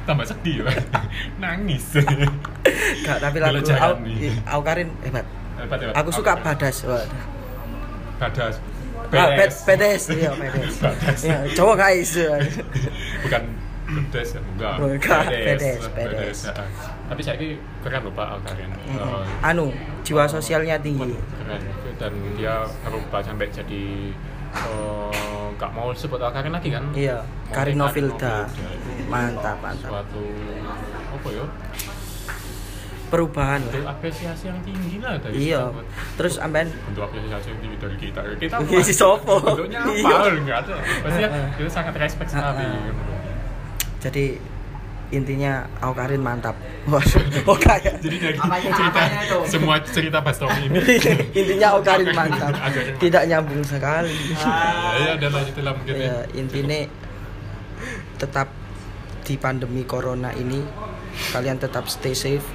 Speaker 2: tambah sedih ya [laughs]
Speaker 1: [laughs]
Speaker 2: nangis
Speaker 1: Gak, tapi lagu
Speaker 2: Belajar
Speaker 1: Au,
Speaker 2: kami.
Speaker 1: Au Karin hebat
Speaker 2: Hebat, hebat.
Speaker 1: aku suka
Speaker 2: Oker.
Speaker 1: badas wah
Speaker 2: badas
Speaker 1: Ah,
Speaker 2: Pedes.
Speaker 1: pet- pedes iya pedes
Speaker 2: [laughs] Badas.
Speaker 1: Iya, cowok guys wah.
Speaker 2: [laughs] bukan pedes ya enggak
Speaker 1: Enggak,
Speaker 2: Pedes,
Speaker 1: pedes, pedes.
Speaker 2: pedes, ya. tapi saya ini keren loh pak Alkarin Eh,
Speaker 1: anu jiwa sosialnya tinggi
Speaker 2: keren dan dia merubah sampai jadi eh, nggak mau sebut Alkarin lagi kan
Speaker 1: iya
Speaker 2: Mau
Speaker 1: Karin
Speaker 2: Karin
Speaker 1: Novilda
Speaker 2: Novilda.
Speaker 1: mantap mantap
Speaker 2: suatu apa ya
Speaker 1: perubahan
Speaker 2: bentuk apresiasi yang tinggi lah dari
Speaker 1: iya
Speaker 2: kita buat-
Speaker 1: terus amben
Speaker 2: bentuk apresiasi yang tinggi dari kita kita
Speaker 1: Iya, si Sopo.
Speaker 2: bentuknya apa
Speaker 1: Iya.
Speaker 2: enggak ada pasti
Speaker 1: Heeh.
Speaker 2: kita sangat respect sekali gitu.
Speaker 1: jadi intinya Au Karin mantap wah [laughs] oh kayak
Speaker 2: jadi dari
Speaker 5: Apanya-
Speaker 2: cerita
Speaker 5: apanya tuh?
Speaker 2: semua cerita Pas Tommy ini
Speaker 1: [laughs] Iya. intinya Au Karin [laughs] mantap
Speaker 2: Aukarin mantap.
Speaker 5: Ah.
Speaker 1: [laughs] tidak nyambung sekali Iya.
Speaker 2: ya ya, udah lanjutin lah mungkin ya
Speaker 1: ya intinya tetap di pandemi corona ini kalian tetap stay safe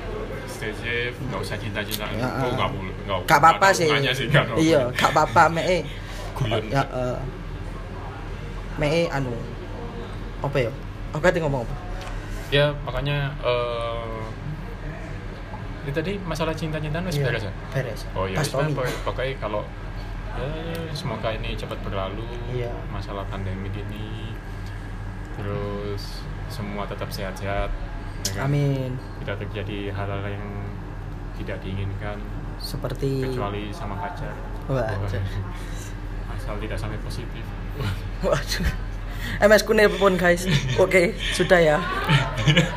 Speaker 2: stay safe nggak usah cinta-cinta
Speaker 1: Ya,
Speaker 2: oh nggak boleh nggak
Speaker 1: gak apa-apa
Speaker 2: nggak ada
Speaker 1: sih
Speaker 2: gunanya sih nggak ada
Speaker 1: iya
Speaker 2: gunanya.
Speaker 1: gak apa-apa me eh.
Speaker 2: Guyon.
Speaker 1: ya eh. me eh, anu apa ya aku tadi ngomong apa
Speaker 2: ya makanya eh itu tadi masalah cinta-cintaan masih
Speaker 1: Iya,
Speaker 2: beres ya
Speaker 1: beres
Speaker 2: oh iya
Speaker 1: pas
Speaker 2: wis lah,
Speaker 1: Tommy
Speaker 2: pokoknya- pokoknya kalau ya, semoga ini cepat berlalu
Speaker 1: Iya.
Speaker 2: masalah pandemi ini terus semua tetap sehat-sehat ya kan?
Speaker 1: amin
Speaker 2: tidak terjadi hal-hal yang tidak diinginkan
Speaker 1: seperti
Speaker 2: kecuali sama pacar
Speaker 1: Wah,
Speaker 2: Oh,
Speaker 1: anjay.
Speaker 2: asal tidak sampai positif
Speaker 1: Eh,
Speaker 2: [laughs]
Speaker 1: waduh MS ku nelpon guys oke sudah ya